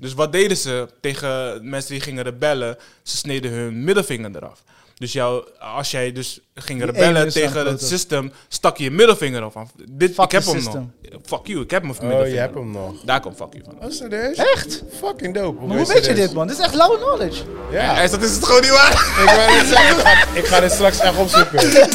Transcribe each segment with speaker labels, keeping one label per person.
Speaker 1: Dus wat deden ze tegen mensen die gingen rebellen? Ze sneden hun middelvinger eraf. Dus jou, als jij dus ging
Speaker 2: Die
Speaker 1: rebellen
Speaker 2: ene
Speaker 1: tegen het
Speaker 2: standpoten.
Speaker 1: systeem, stak je je middelvinger af. Dit,
Speaker 2: Fuck
Speaker 1: ik heb
Speaker 2: the
Speaker 1: hem
Speaker 2: system.
Speaker 1: nog. Fuck you, ik heb mijn
Speaker 3: Oh,
Speaker 1: middelvinger.
Speaker 3: je hebt hem nog.
Speaker 1: Daar komt fuck you van.
Speaker 3: Oh, serieus?
Speaker 2: Echt?
Speaker 3: Fucking dope.
Speaker 2: Maar hoe weet je dit, man? Dit is echt low knowledge.
Speaker 3: Ja.
Speaker 1: Hij is dat is het gewoon niet waar.
Speaker 3: Ik wou net zeggen, ik ga, ik ga dit straks echt opzoeken.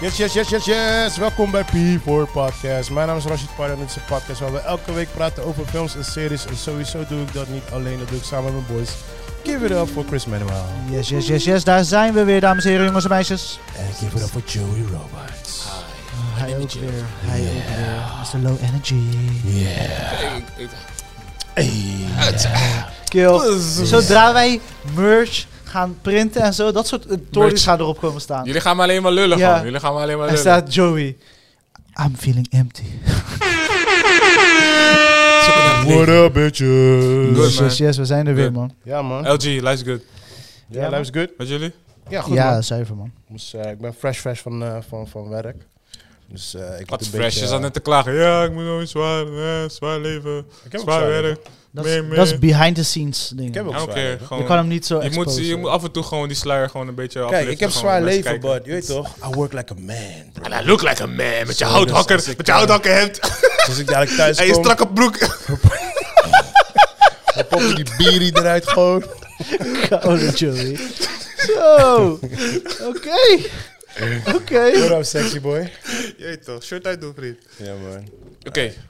Speaker 3: Yes, yes, yes, yes, yes. Welkom bij P4 Podcast. Mijn naam is Rashid Parra en dit is een podcast waar we elke week praten over films en series. En sowieso doe ik dat niet alleen, dat doe ik samen met mijn boys. Give it up voor Chris Manuel.
Speaker 2: Yes, yes, yes, yes. Daar zijn we weer, dames en heren, jongens en meisjes.
Speaker 3: En give it up voor Joey Roberts.
Speaker 2: Hij ook weer. Hij ook weer. Mr. Low Energy. Kill. Zodra wij merch gaan printen en zo, dat soort eh,
Speaker 1: Merch.
Speaker 2: tories gaan erop komen staan.
Speaker 1: Jullie gaan me alleen maar lullen
Speaker 2: Ja.
Speaker 1: gewoon. Jullie gaan me alleen maar
Speaker 2: Er
Speaker 1: lullen.
Speaker 2: staat Joey. I'm feeling empty.
Speaker 1: Zoeken naar het
Speaker 3: What
Speaker 1: leven.
Speaker 3: up, bitches?
Speaker 1: Good,
Speaker 2: Yes, yes, yes, we zijn er weer,
Speaker 1: Good.
Speaker 2: man.
Speaker 3: Ja, man.
Speaker 1: LG, life's good.
Speaker 3: Ja, life's good.
Speaker 1: Met jullie?
Speaker 3: Ja, goed,
Speaker 2: Ja,
Speaker 3: man.
Speaker 2: zuiver, man.
Speaker 3: Dus, eh, ik ben fresh, fresh van, eh, van, van werk. Dus eh, ik
Speaker 1: Wat
Speaker 3: heb
Speaker 1: fresh, je zat net te klagen. Ja, ik moet nog eens zwaar, eh, zwaar leven,
Speaker 3: Ik heb ook
Speaker 1: zwaar
Speaker 3: zwaar
Speaker 1: werk.
Speaker 2: Dat
Speaker 1: Mee,
Speaker 2: is-
Speaker 1: mee.
Speaker 2: dat is behind the scenes
Speaker 3: Ik heb
Speaker 2: dingen.
Speaker 3: ook
Speaker 1: Ja,
Speaker 3: zwaar
Speaker 1: Oké,
Speaker 3: leven.
Speaker 1: gewoon.
Speaker 2: Je kan hem niet zo
Speaker 1: je, moet,
Speaker 2: exposen.
Speaker 1: je moet af en toe gewoon die sluier gewoon een beetje
Speaker 3: Kijk,
Speaker 1: upliften,
Speaker 3: ik heb
Speaker 1: gewoon
Speaker 3: zwaar
Speaker 1: dat mensen
Speaker 3: leven,
Speaker 1: kijken.
Speaker 3: but je weet toch, I work like a man. bro.
Speaker 1: I look like a man, met je
Speaker 3: Zo,
Speaker 1: houthakker,
Speaker 3: dus als ik,
Speaker 1: met je houthakker hebt
Speaker 3: Als Dus ik dadelijk thuis
Speaker 1: en je
Speaker 3: kom,
Speaker 1: strakke broek.
Speaker 3: dan pop ik die bierie eruit gewoon.
Speaker 2: Oude Oh, Joey. Zo. Oké. Oké.
Speaker 3: What up, sexy boy?
Speaker 1: Jeet toch, shirt uit doen, vriend. Oké,
Speaker 3: Ja, man.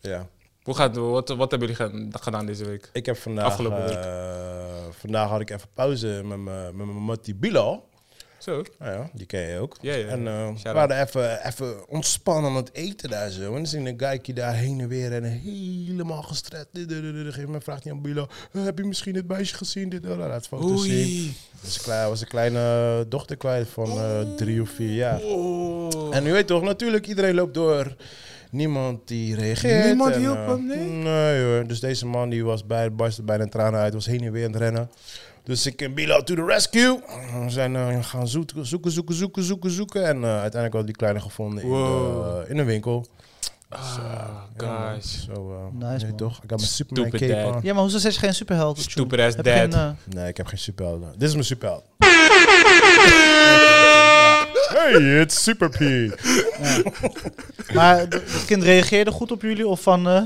Speaker 3: Ja.
Speaker 1: hoe gaat het? Wat, wat hebben jullie gedaan- gedaan deze week?
Speaker 3: Ik heb vandaag...
Speaker 1: Afgelopen week.
Speaker 3: eh, vandaag had ik even pauze met mijn met mijn mattie Bilal.
Speaker 1: Zo.
Speaker 3: Nou ja, die ken je ook.
Speaker 1: Ja, ja, ja.
Speaker 3: En eh, we
Speaker 1: Shout-out.
Speaker 3: waren even, even ontspannen aan het eten daar zo. En dan zie je een guykie daar heen en weer en helemaal gestret. Dit, dit, dit, dit. Op een gegeven moment vraagt hij aan Bilo, "Eh, heb je misschien het meisje gezien? Dit, dat, dat. Laat foto's zien. Dus een klein- was een kleine dochter kwijt van eh, drie of vier jaar.
Speaker 1: Oh.
Speaker 3: En u weet toch, natuurlijk, iedereen loopt door. Niemand die reageert.
Speaker 1: Niemand
Speaker 3: en,
Speaker 1: hielp
Speaker 3: eh,
Speaker 1: hem, nee?
Speaker 3: Nee hoor. Dus deze man die was bij, barstte bijna in tranen uit. Was heen en weer aan het rennen. Dus ik en Bilo to the rescue. We zijn eh, gaan zoeken, zoeken, zoeken, zoeken, zoeken, zoeken. En eh, uiteindelijk hadden die kleine gevonden in,
Speaker 1: Wow.
Speaker 3: de, in een winkel.
Speaker 1: Ah,
Speaker 3: Ja, man.
Speaker 1: guys.
Speaker 3: Zo, eh,
Speaker 2: Nice,
Speaker 3: nee,
Speaker 2: man.
Speaker 3: toch? Ik heb mijn Superman
Speaker 1: Stupid
Speaker 3: cape
Speaker 1: dad.
Speaker 3: aan.
Speaker 2: Ja, maar hoezo zet je geen superheld?
Speaker 1: Stupid ass
Speaker 2: Heb
Speaker 1: dad.
Speaker 2: geen, eh,
Speaker 3: Nee, ik heb geen superheld. Dit is mijn superheld. Hey, it's Super Pete.
Speaker 2: eh, maar d- het kind reageerde goed op jullie of van... eh,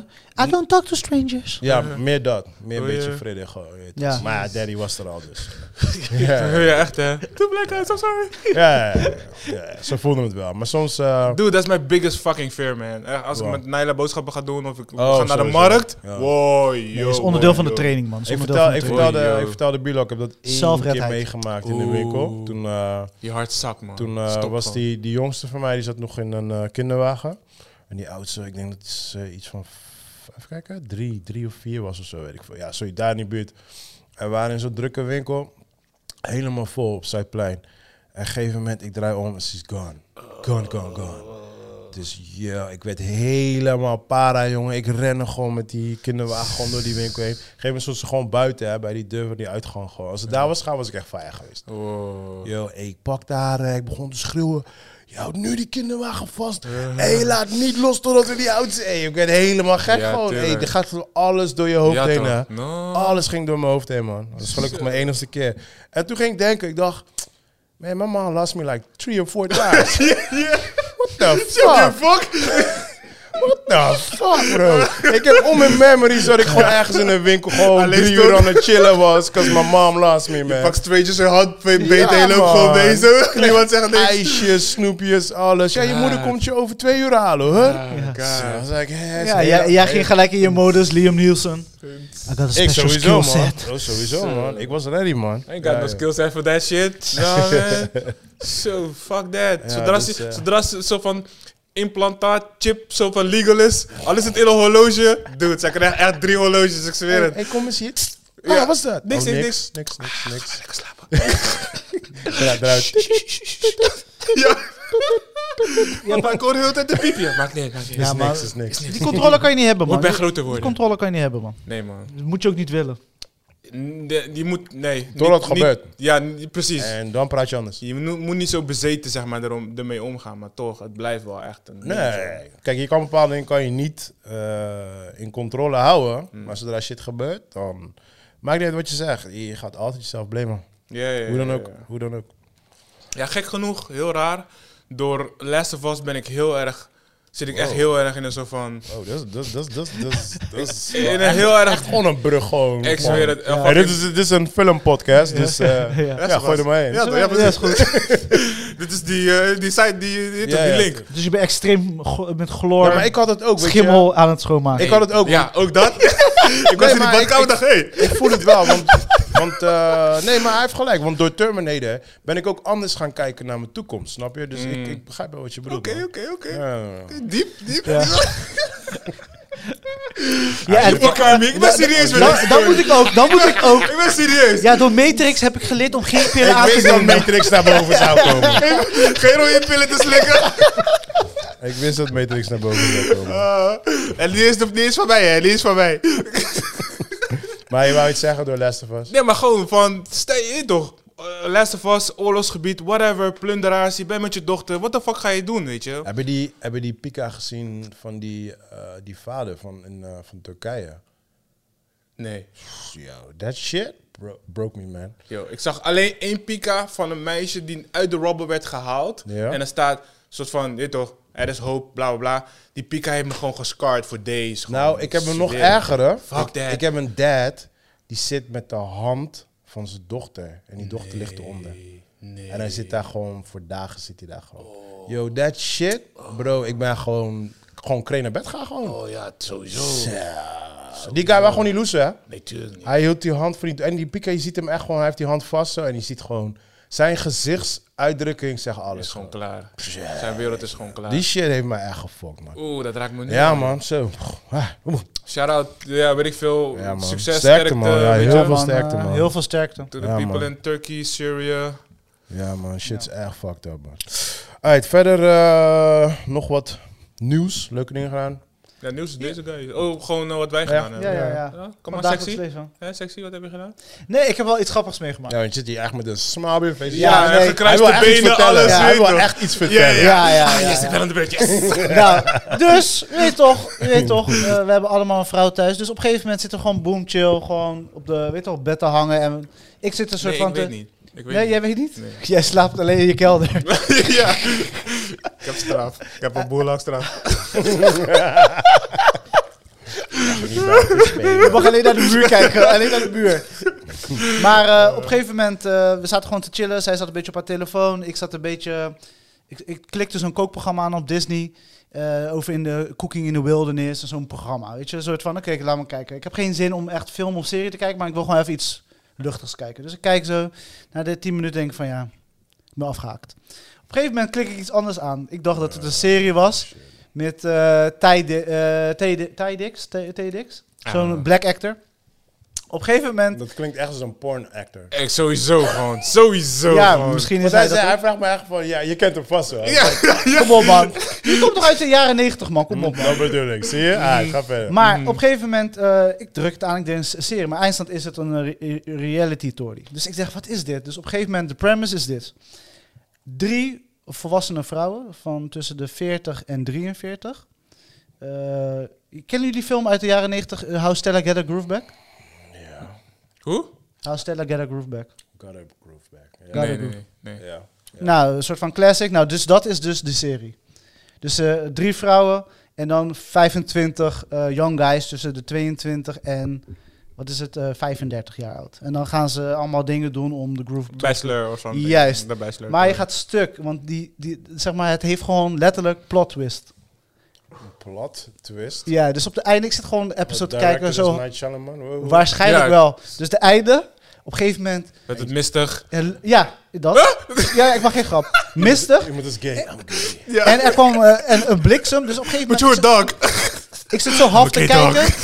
Speaker 2: I don't talk to strangers.
Speaker 3: Ja, meer dat. Meer een
Speaker 1: Wil je-
Speaker 3: beetje vredig. gewoon, weet je.
Speaker 2: Ja.
Speaker 3: Maar ja, daddy was er al dus. ja,
Speaker 1: Ja, echt hè. Doe black eyes, I'm sorry.
Speaker 3: ja, ja, ja. ze voelden het wel. Maar soms... eh,
Speaker 1: Dude, dat is mijn biggest fucking fear, man. Echt, Als
Speaker 3: Wow.
Speaker 1: ik met Naila boodschappen ga doen of ik
Speaker 3: Oh,
Speaker 1: ga naar de
Speaker 3: sowieso.
Speaker 1: markt.
Speaker 3: Ja.
Speaker 1: Wow, yo.
Speaker 2: Het is onderdeel van de
Speaker 1: yo.
Speaker 2: training, man. Het is
Speaker 3: ik,
Speaker 2: onderdeel
Speaker 3: vertel, ik,
Speaker 2: van de training.
Speaker 3: vertelde,
Speaker 1: Oei, yo.
Speaker 3: ik vertelde Bilo, ik heb dat één keer
Speaker 2: Zelfredheid.
Speaker 3: meegemaakt in de
Speaker 1: Oeh.
Speaker 3: winkel. Toen, eh,
Speaker 1: Je hart zakt, man.
Speaker 3: toen eh,
Speaker 1: Stop
Speaker 3: was
Speaker 1: gewoon.
Speaker 3: die, die jongste van mij, die zat nog in een eh, kinderwagen. En die oudste, ik denk dat is eh, iets van, v- even kijken, drie, drie of vier was of zo, weet ik veel. Ja, sorry, daar in die buurt. En we waren in zo'n drukke winkel, helemaal vol op Zuidplein. En op een gegeven moment, ik draai om en ze is gone. Gone, gone, gone. Dus ja, ik werd helemaal para, jongen. Ik rende gewoon met die kinderwagen gewoon door die winkel heen. Op een gegeven moment stond ze gewoon buiten, hè, bij die deur van die uitgang. Gewoon. Als ze daar was gaan, was ik echt veilig geweest.
Speaker 1: Wow.
Speaker 3: Yo, ik pakte haar, eh, ik begon te schreeuwen. Je houdt nu die kinderwagen vast. Hé, laat niet los totdat we die oud zijn. Hey, ik werd helemaal gek
Speaker 1: Ja,
Speaker 3: gewoon. Hey,
Speaker 1: tuurlijk.
Speaker 3: er gaat alles door je hoofd
Speaker 1: Ja,
Speaker 3: heen,
Speaker 1: toch?
Speaker 3: hè.
Speaker 1: No.
Speaker 3: Alles ging door mijn hoofd heen, man. Dat is gelukkig mijn enigste keer. En toen ging ik denken, ik dacht... Man, my mom lost me like three or four times. What the fuck?
Speaker 1: fuck?
Speaker 3: What the fuck, bro? ik heb om in memories dat ik gewoon ergens in een winkel gewoon
Speaker 1: Alleen
Speaker 3: drie uur
Speaker 1: stond-
Speaker 3: aan het chillen was. Because my mom lost me, man.
Speaker 1: Pak straightjes in hand, twee beten,
Speaker 3: Ja,
Speaker 1: en loop gewoon
Speaker 3: man.
Speaker 1: bezig. Niemand zegt niks.
Speaker 3: ijsjes, snoepjes, alles. Ja, je moeder komt je over twee uur halen, hoor.
Speaker 1: Ja.
Speaker 3: Zo, dan zei ik, hè, ze
Speaker 2: Ja,
Speaker 3: hele-
Speaker 2: jij, jij ging gelijk in je modus, Liam Nielsen. I got a
Speaker 3: Ik
Speaker 2: special
Speaker 3: sowieso,
Speaker 2: skill
Speaker 3: man.
Speaker 2: set.
Speaker 3: Oh, sowieso, man. Ik was ready, man.
Speaker 1: I ain't got
Speaker 3: Ja,
Speaker 1: no
Speaker 3: ja.
Speaker 1: skills set for that shit. No, man. so, fuck that.
Speaker 3: Ja,
Speaker 1: zodra
Speaker 3: dus,
Speaker 1: ze,
Speaker 3: eh.
Speaker 1: zodra ze zo van implantaat, chip, zo van legal is, al is het in een horloge. Dude, zij krijgen echt drie horloges, ik zweer
Speaker 3: Hey,
Speaker 1: het.
Speaker 3: hey, kom eens hier.
Speaker 1: Ja.
Speaker 3: Ja, wat was dat?
Speaker 1: Niks, niks,
Speaker 3: Oh, niks, niks, niks.
Speaker 1: Lekker slapen.
Speaker 3: Eruit, eruit.
Speaker 1: ja. ja, maar ik hoor heel de tijd de piepje. Maakt niet uit, maakt niet uit.
Speaker 2: Ja,
Speaker 3: Is
Speaker 2: maar-
Speaker 3: niks, is niks.
Speaker 2: Die controle kan je niet hebben,
Speaker 1: Moet
Speaker 2: man.
Speaker 1: bij
Speaker 2: Die
Speaker 1: groter worden.
Speaker 2: controle kan je niet hebben, man.
Speaker 1: Nee, man.
Speaker 2: Dat moet je ook niet willen.
Speaker 1: Nee, je moet, nee.
Speaker 3: Totdat
Speaker 1: Niet-
Speaker 3: het gebeurt. Eh.
Speaker 1: niet- ja, n- precies.
Speaker 3: En dan praat je anders.
Speaker 1: Je moet, moet niet zo bezeten, zeg maar, erom, ermee omgaan. Maar toch, het blijft wel echt een...
Speaker 3: Nee, kijk, je kan bepaalde dingen kan je niet eh, in controle houden.
Speaker 1: Mm.
Speaker 3: Maar zodra shit gebeurt, dan maakt niet uit wat je zegt. Je gaat altijd jezelf blamen.
Speaker 1: Ja, ja, ja,
Speaker 3: Hoe dan
Speaker 1: ja,
Speaker 3: ook,
Speaker 1: ja.
Speaker 3: hoe dan ook.
Speaker 1: Ja, gek genoeg, heel raar. Door Last of Us ben ik heel erg... Zit ik echt heel erg in een soort van...
Speaker 3: Oh, dat is, dat is, dat is, dat is, dat is- dat is
Speaker 1: In
Speaker 3: wel
Speaker 1: een
Speaker 3: echt-
Speaker 1: heel erg...
Speaker 3: echt gewoon een brug gewoon.
Speaker 1: Ik
Speaker 3: Gewoon.
Speaker 1: zweer het. een
Speaker 3: Hey,
Speaker 1: fucking-
Speaker 3: dit, is, dit is een filmpodcast, dus eh,
Speaker 2: Ja.
Speaker 3: ja. gooi er maar
Speaker 1: Ja,
Speaker 3: in. Ja,
Speaker 1: toch? ja, precies. Dit is die, eh, die site, die, die, die
Speaker 3: ja.
Speaker 1: link.
Speaker 2: Dus je bent extreem glo- met chloor
Speaker 3: maar ik had het ook, weet
Speaker 2: schimmel aan het schoonmaken.
Speaker 3: Ik had het ook,
Speaker 1: Ja, ook dat. ik was in die
Speaker 3: maar ik-
Speaker 1: badkamer en dacht, hé.
Speaker 3: je. Ik voel het wel, want, want eh, nee, maar hij heeft gelijk. Want door Terminator ben ik ook anders gaan kijken naar mijn toekomst, snap je? Dus ik, ik begrijp wel wat je bedoelt.
Speaker 1: Oké,
Speaker 3: man.
Speaker 1: oké, oké.
Speaker 3: Ja, ja, ja.
Speaker 1: Diep, diep.
Speaker 2: Ja.
Speaker 1: Ja,
Speaker 2: en
Speaker 1: ik, ik ben serieus met
Speaker 2: Dan,
Speaker 1: deze
Speaker 2: dan
Speaker 1: story.
Speaker 2: moet ik ook, dan moet ik ook.
Speaker 1: Ik ben serieus.
Speaker 2: Ja, door Matrix heb ik geleerd om geen pillen aan
Speaker 3: Ik
Speaker 2: te
Speaker 3: wist dat
Speaker 2: nemen.
Speaker 3: Matrix naar boven zou komen.
Speaker 1: Geen rode pillen te slikken.
Speaker 3: Ik wist dat Matrix naar boven zou komen.
Speaker 1: Ah, en die is, die is van mij, hè. Die is van mij.
Speaker 3: Maar je wou iets zeggen door Last of Us?
Speaker 1: Nee, maar gewoon van, stel je in toch. Eh, Last of Us, oorlogsgebied, whatever, plunderaars, je bent met je dochter. What the fuck ga je doen, weet je?
Speaker 3: Heb je die, heb je die Pika gezien van die, eh, die vader van, in, eh, van Turkije?
Speaker 1: Nee.
Speaker 3: Yo, that shit bro- broke me, man.
Speaker 1: Yo, ik zag alleen één pika van een meisje die uit de robber werd gehaald.
Speaker 3: Ja.
Speaker 1: En er staat soort van, dit toch, er is hoop, bla bla bla. Die pika heeft me gewoon gescarred voor days. gewoon.
Speaker 3: Nou, ik heb een nog
Speaker 1: Zweer.
Speaker 3: ergere.
Speaker 1: Fuck
Speaker 3: ik,
Speaker 1: that.
Speaker 3: ik heb een dad die zit met de hand van zijn dochter. En die dochter ligt eronder.
Speaker 1: Nee. Oh.
Speaker 3: En hij zit daar gewoon, voor dagen zit hij daar gewoon. Yo, that shit. Bro, ik ben gewoon, gewoon kree naar bed gaan gewoon.
Speaker 1: Oh ja, sowieso.
Speaker 3: die guy was gewoon niet loesen, hè?
Speaker 1: Nee, tuurlijk niet.
Speaker 3: Hij hield die hand voor die... En die Pika, je ziet hem echt gewoon... Hij heeft die hand vast zo en je ziet gewoon... Zijn gezichtsuitdrukking zegt
Speaker 1: Is
Speaker 3: alles.
Speaker 1: gewoon klaar. Zijn wereld is gewoon klaar.
Speaker 3: Die shit heeft me echt gefokt, man.
Speaker 1: Oeh, dat raakt me nu.
Speaker 3: Ja, man. Zo. Ah, oeh.
Speaker 1: Shout-out, ja, weet ik veel.
Speaker 3: Ja, man.
Speaker 1: Succes,
Speaker 3: Sterkte,
Speaker 1: sterkte,
Speaker 3: man. Ja,
Speaker 1: weet
Speaker 3: heel
Speaker 1: je?
Speaker 3: veel
Speaker 2: Man,
Speaker 3: sterkte,
Speaker 2: eh,
Speaker 3: man.
Speaker 2: Heel veel sterkte.
Speaker 1: To the
Speaker 3: Ja,
Speaker 1: people
Speaker 3: man.
Speaker 1: in Turkey, Syria.
Speaker 3: Ja, man. Shit is echt fucked up, man. Alright, verder eh, nog wat nieuws. Leuke dingen gedaan.
Speaker 1: Ja, nieuws is deze guy. Oh, gewoon eh, wat wij gedaan
Speaker 2: Ja,
Speaker 1: hebben.
Speaker 2: ja,
Speaker 1: Ja,
Speaker 2: ja.
Speaker 1: Kom maar,
Speaker 2: Vandaag
Speaker 1: sexy.
Speaker 2: het leven.
Speaker 1: Hè, sexy, wat heb je gedaan?
Speaker 2: Nee, ik heb wel iets grappigs meegemaakt.
Speaker 3: Ja, want je zit hier echt met een smaal op je face.
Speaker 2: Ja,
Speaker 3: Hij
Speaker 2: nee.
Speaker 1: gekruiste
Speaker 3: wil echt iets
Speaker 1: benen,
Speaker 3: vertellen.
Speaker 1: alles,
Speaker 3: Ja,
Speaker 1: weet
Speaker 3: hij wil
Speaker 1: toch?
Speaker 3: echt iets vertellen.
Speaker 1: Ja,
Speaker 2: Ja, ja,
Speaker 1: Ah,
Speaker 2: ja,
Speaker 1: yes,
Speaker 2: ja.
Speaker 1: ik ben aan de beurt, yes.
Speaker 2: Nou, dus, je weet toch, je weet toch, eh, we hebben allemaal een vrouw thuis. Dus op een gegeven moment zitten we gewoon boom chill, gewoon op de, weet toch, op bed te hangen. En ik zit een soort
Speaker 1: Nee,
Speaker 2: van
Speaker 1: ik
Speaker 2: te-
Speaker 1: weet niet. Ik weet
Speaker 2: Nee, jij
Speaker 1: niet.
Speaker 2: weet niet?
Speaker 1: Nee.
Speaker 2: Jij slaapt alleen in je kelder.
Speaker 1: ja. Ik heb straf. Ik heb een boel straf.
Speaker 2: Je mag alleen naar de muur kijken, alleen naar de muur. Maar eh, op een gegeven moment, eh, we zaten gewoon te chillen. Zij zat een beetje op haar telefoon. Ik zat een beetje... Ik, ik klikte zo'n kookprogramma aan op Disney. eh, over in de Cooking in the Wilderness en zo'n programma. Weet je, een soort van, oké, laat maar kijken. Ik heb geen zin om echt film of serie te kijken, maar ik wil gewoon even iets luchtigs kijken. Dus ik kijk zo, na de 10 minuten denk ik van ja, ik ben afgehaakt. Op een gegeven moment klik ik iets anders aan. Ik dacht dat het een serie was met eh Ty Di- eh, Ty Di- Ty Dix, Ty- Ty Dix? zo'n
Speaker 1: Ah.
Speaker 2: black actor. Op een gegeven moment,
Speaker 3: Dat klinkt echt als een porn actor.
Speaker 1: Ik sowieso gewoon. Sowieso
Speaker 2: ja,
Speaker 1: gewoon.
Speaker 2: misschien is
Speaker 3: Want
Speaker 2: hij
Speaker 3: hij,
Speaker 2: dat
Speaker 3: zei,
Speaker 2: ook.
Speaker 3: hij vraagt me echt van, ja, je kent hem vast wel.
Speaker 1: Ja,
Speaker 2: Kom op man, je komt toch uit de jaren 90 man, kom op man.
Speaker 3: Mm, Dat bedoel ik, zie je? Ah,
Speaker 1: Mm.
Speaker 3: ga verder.
Speaker 2: Maar op een gegeven moment, eh, ik druk het aan, ik denk een serie, maar eindstand is het een eh, re- re- reality tory. Dus ik zeg, wat is dit? Dus op een gegeven moment, de premise is dit. Drie volwassene vrouwen van tussen de 40 en 43. Eh, kennen jullie die film uit de jaren 90, eh, How Stella Get a Groove Back?
Speaker 3: Ja.
Speaker 1: Hoe?
Speaker 2: How Stella Get a Groove Back.
Speaker 3: Got a groove back. Ja.
Speaker 2: Ja.
Speaker 1: Nee, nee, nee. nee.
Speaker 3: Ja.
Speaker 2: Nou, een soort van classic. Nou, dus dat is dus de serie. Dus eh, drie vrouwen en dan 25 eh, young guys tussen de 22 en wat is het, eh, 35 jaar oud. En dan gaan ze allemaal dingen doen om de groove te...
Speaker 1: Bachelor of zo.
Speaker 2: Juist.
Speaker 1: De bachelor.
Speaker 2: Maar je gaat stuk, want die, die, zeg maar, het heeft gewoon letterlijk plot twist.
Speaker 3: Plot twist.
Speaker 2: Ja, dus op de einde, ik zit gewoon de episode te kijken en
Speaker 3: Directed is
Speaker 2: zo.
Speaker 3: Eh, Night Shyamalan. Wow, wow.
Speaker 2: Waarschijnlijk
Speaker 1: Ja.
Speaker 2: wel. Dus de einde, op een gegeven moment...
Speaker 1: Met het mistig.
Speaker 2: eh, Ja, dat. Ja, ik mag geen grap. Mistig.
Speaker 3: Iemand is gay. I'm gay.
Speaker 1: Ja.
Speaker 2: En er kwam eh, een, een bliksem, dus op een gegeven moment...
Speaker 1: dog.
Speaker 2: Ik zit zo half te
Speaker 1: Oké, dog.
Speaker 2: kijken.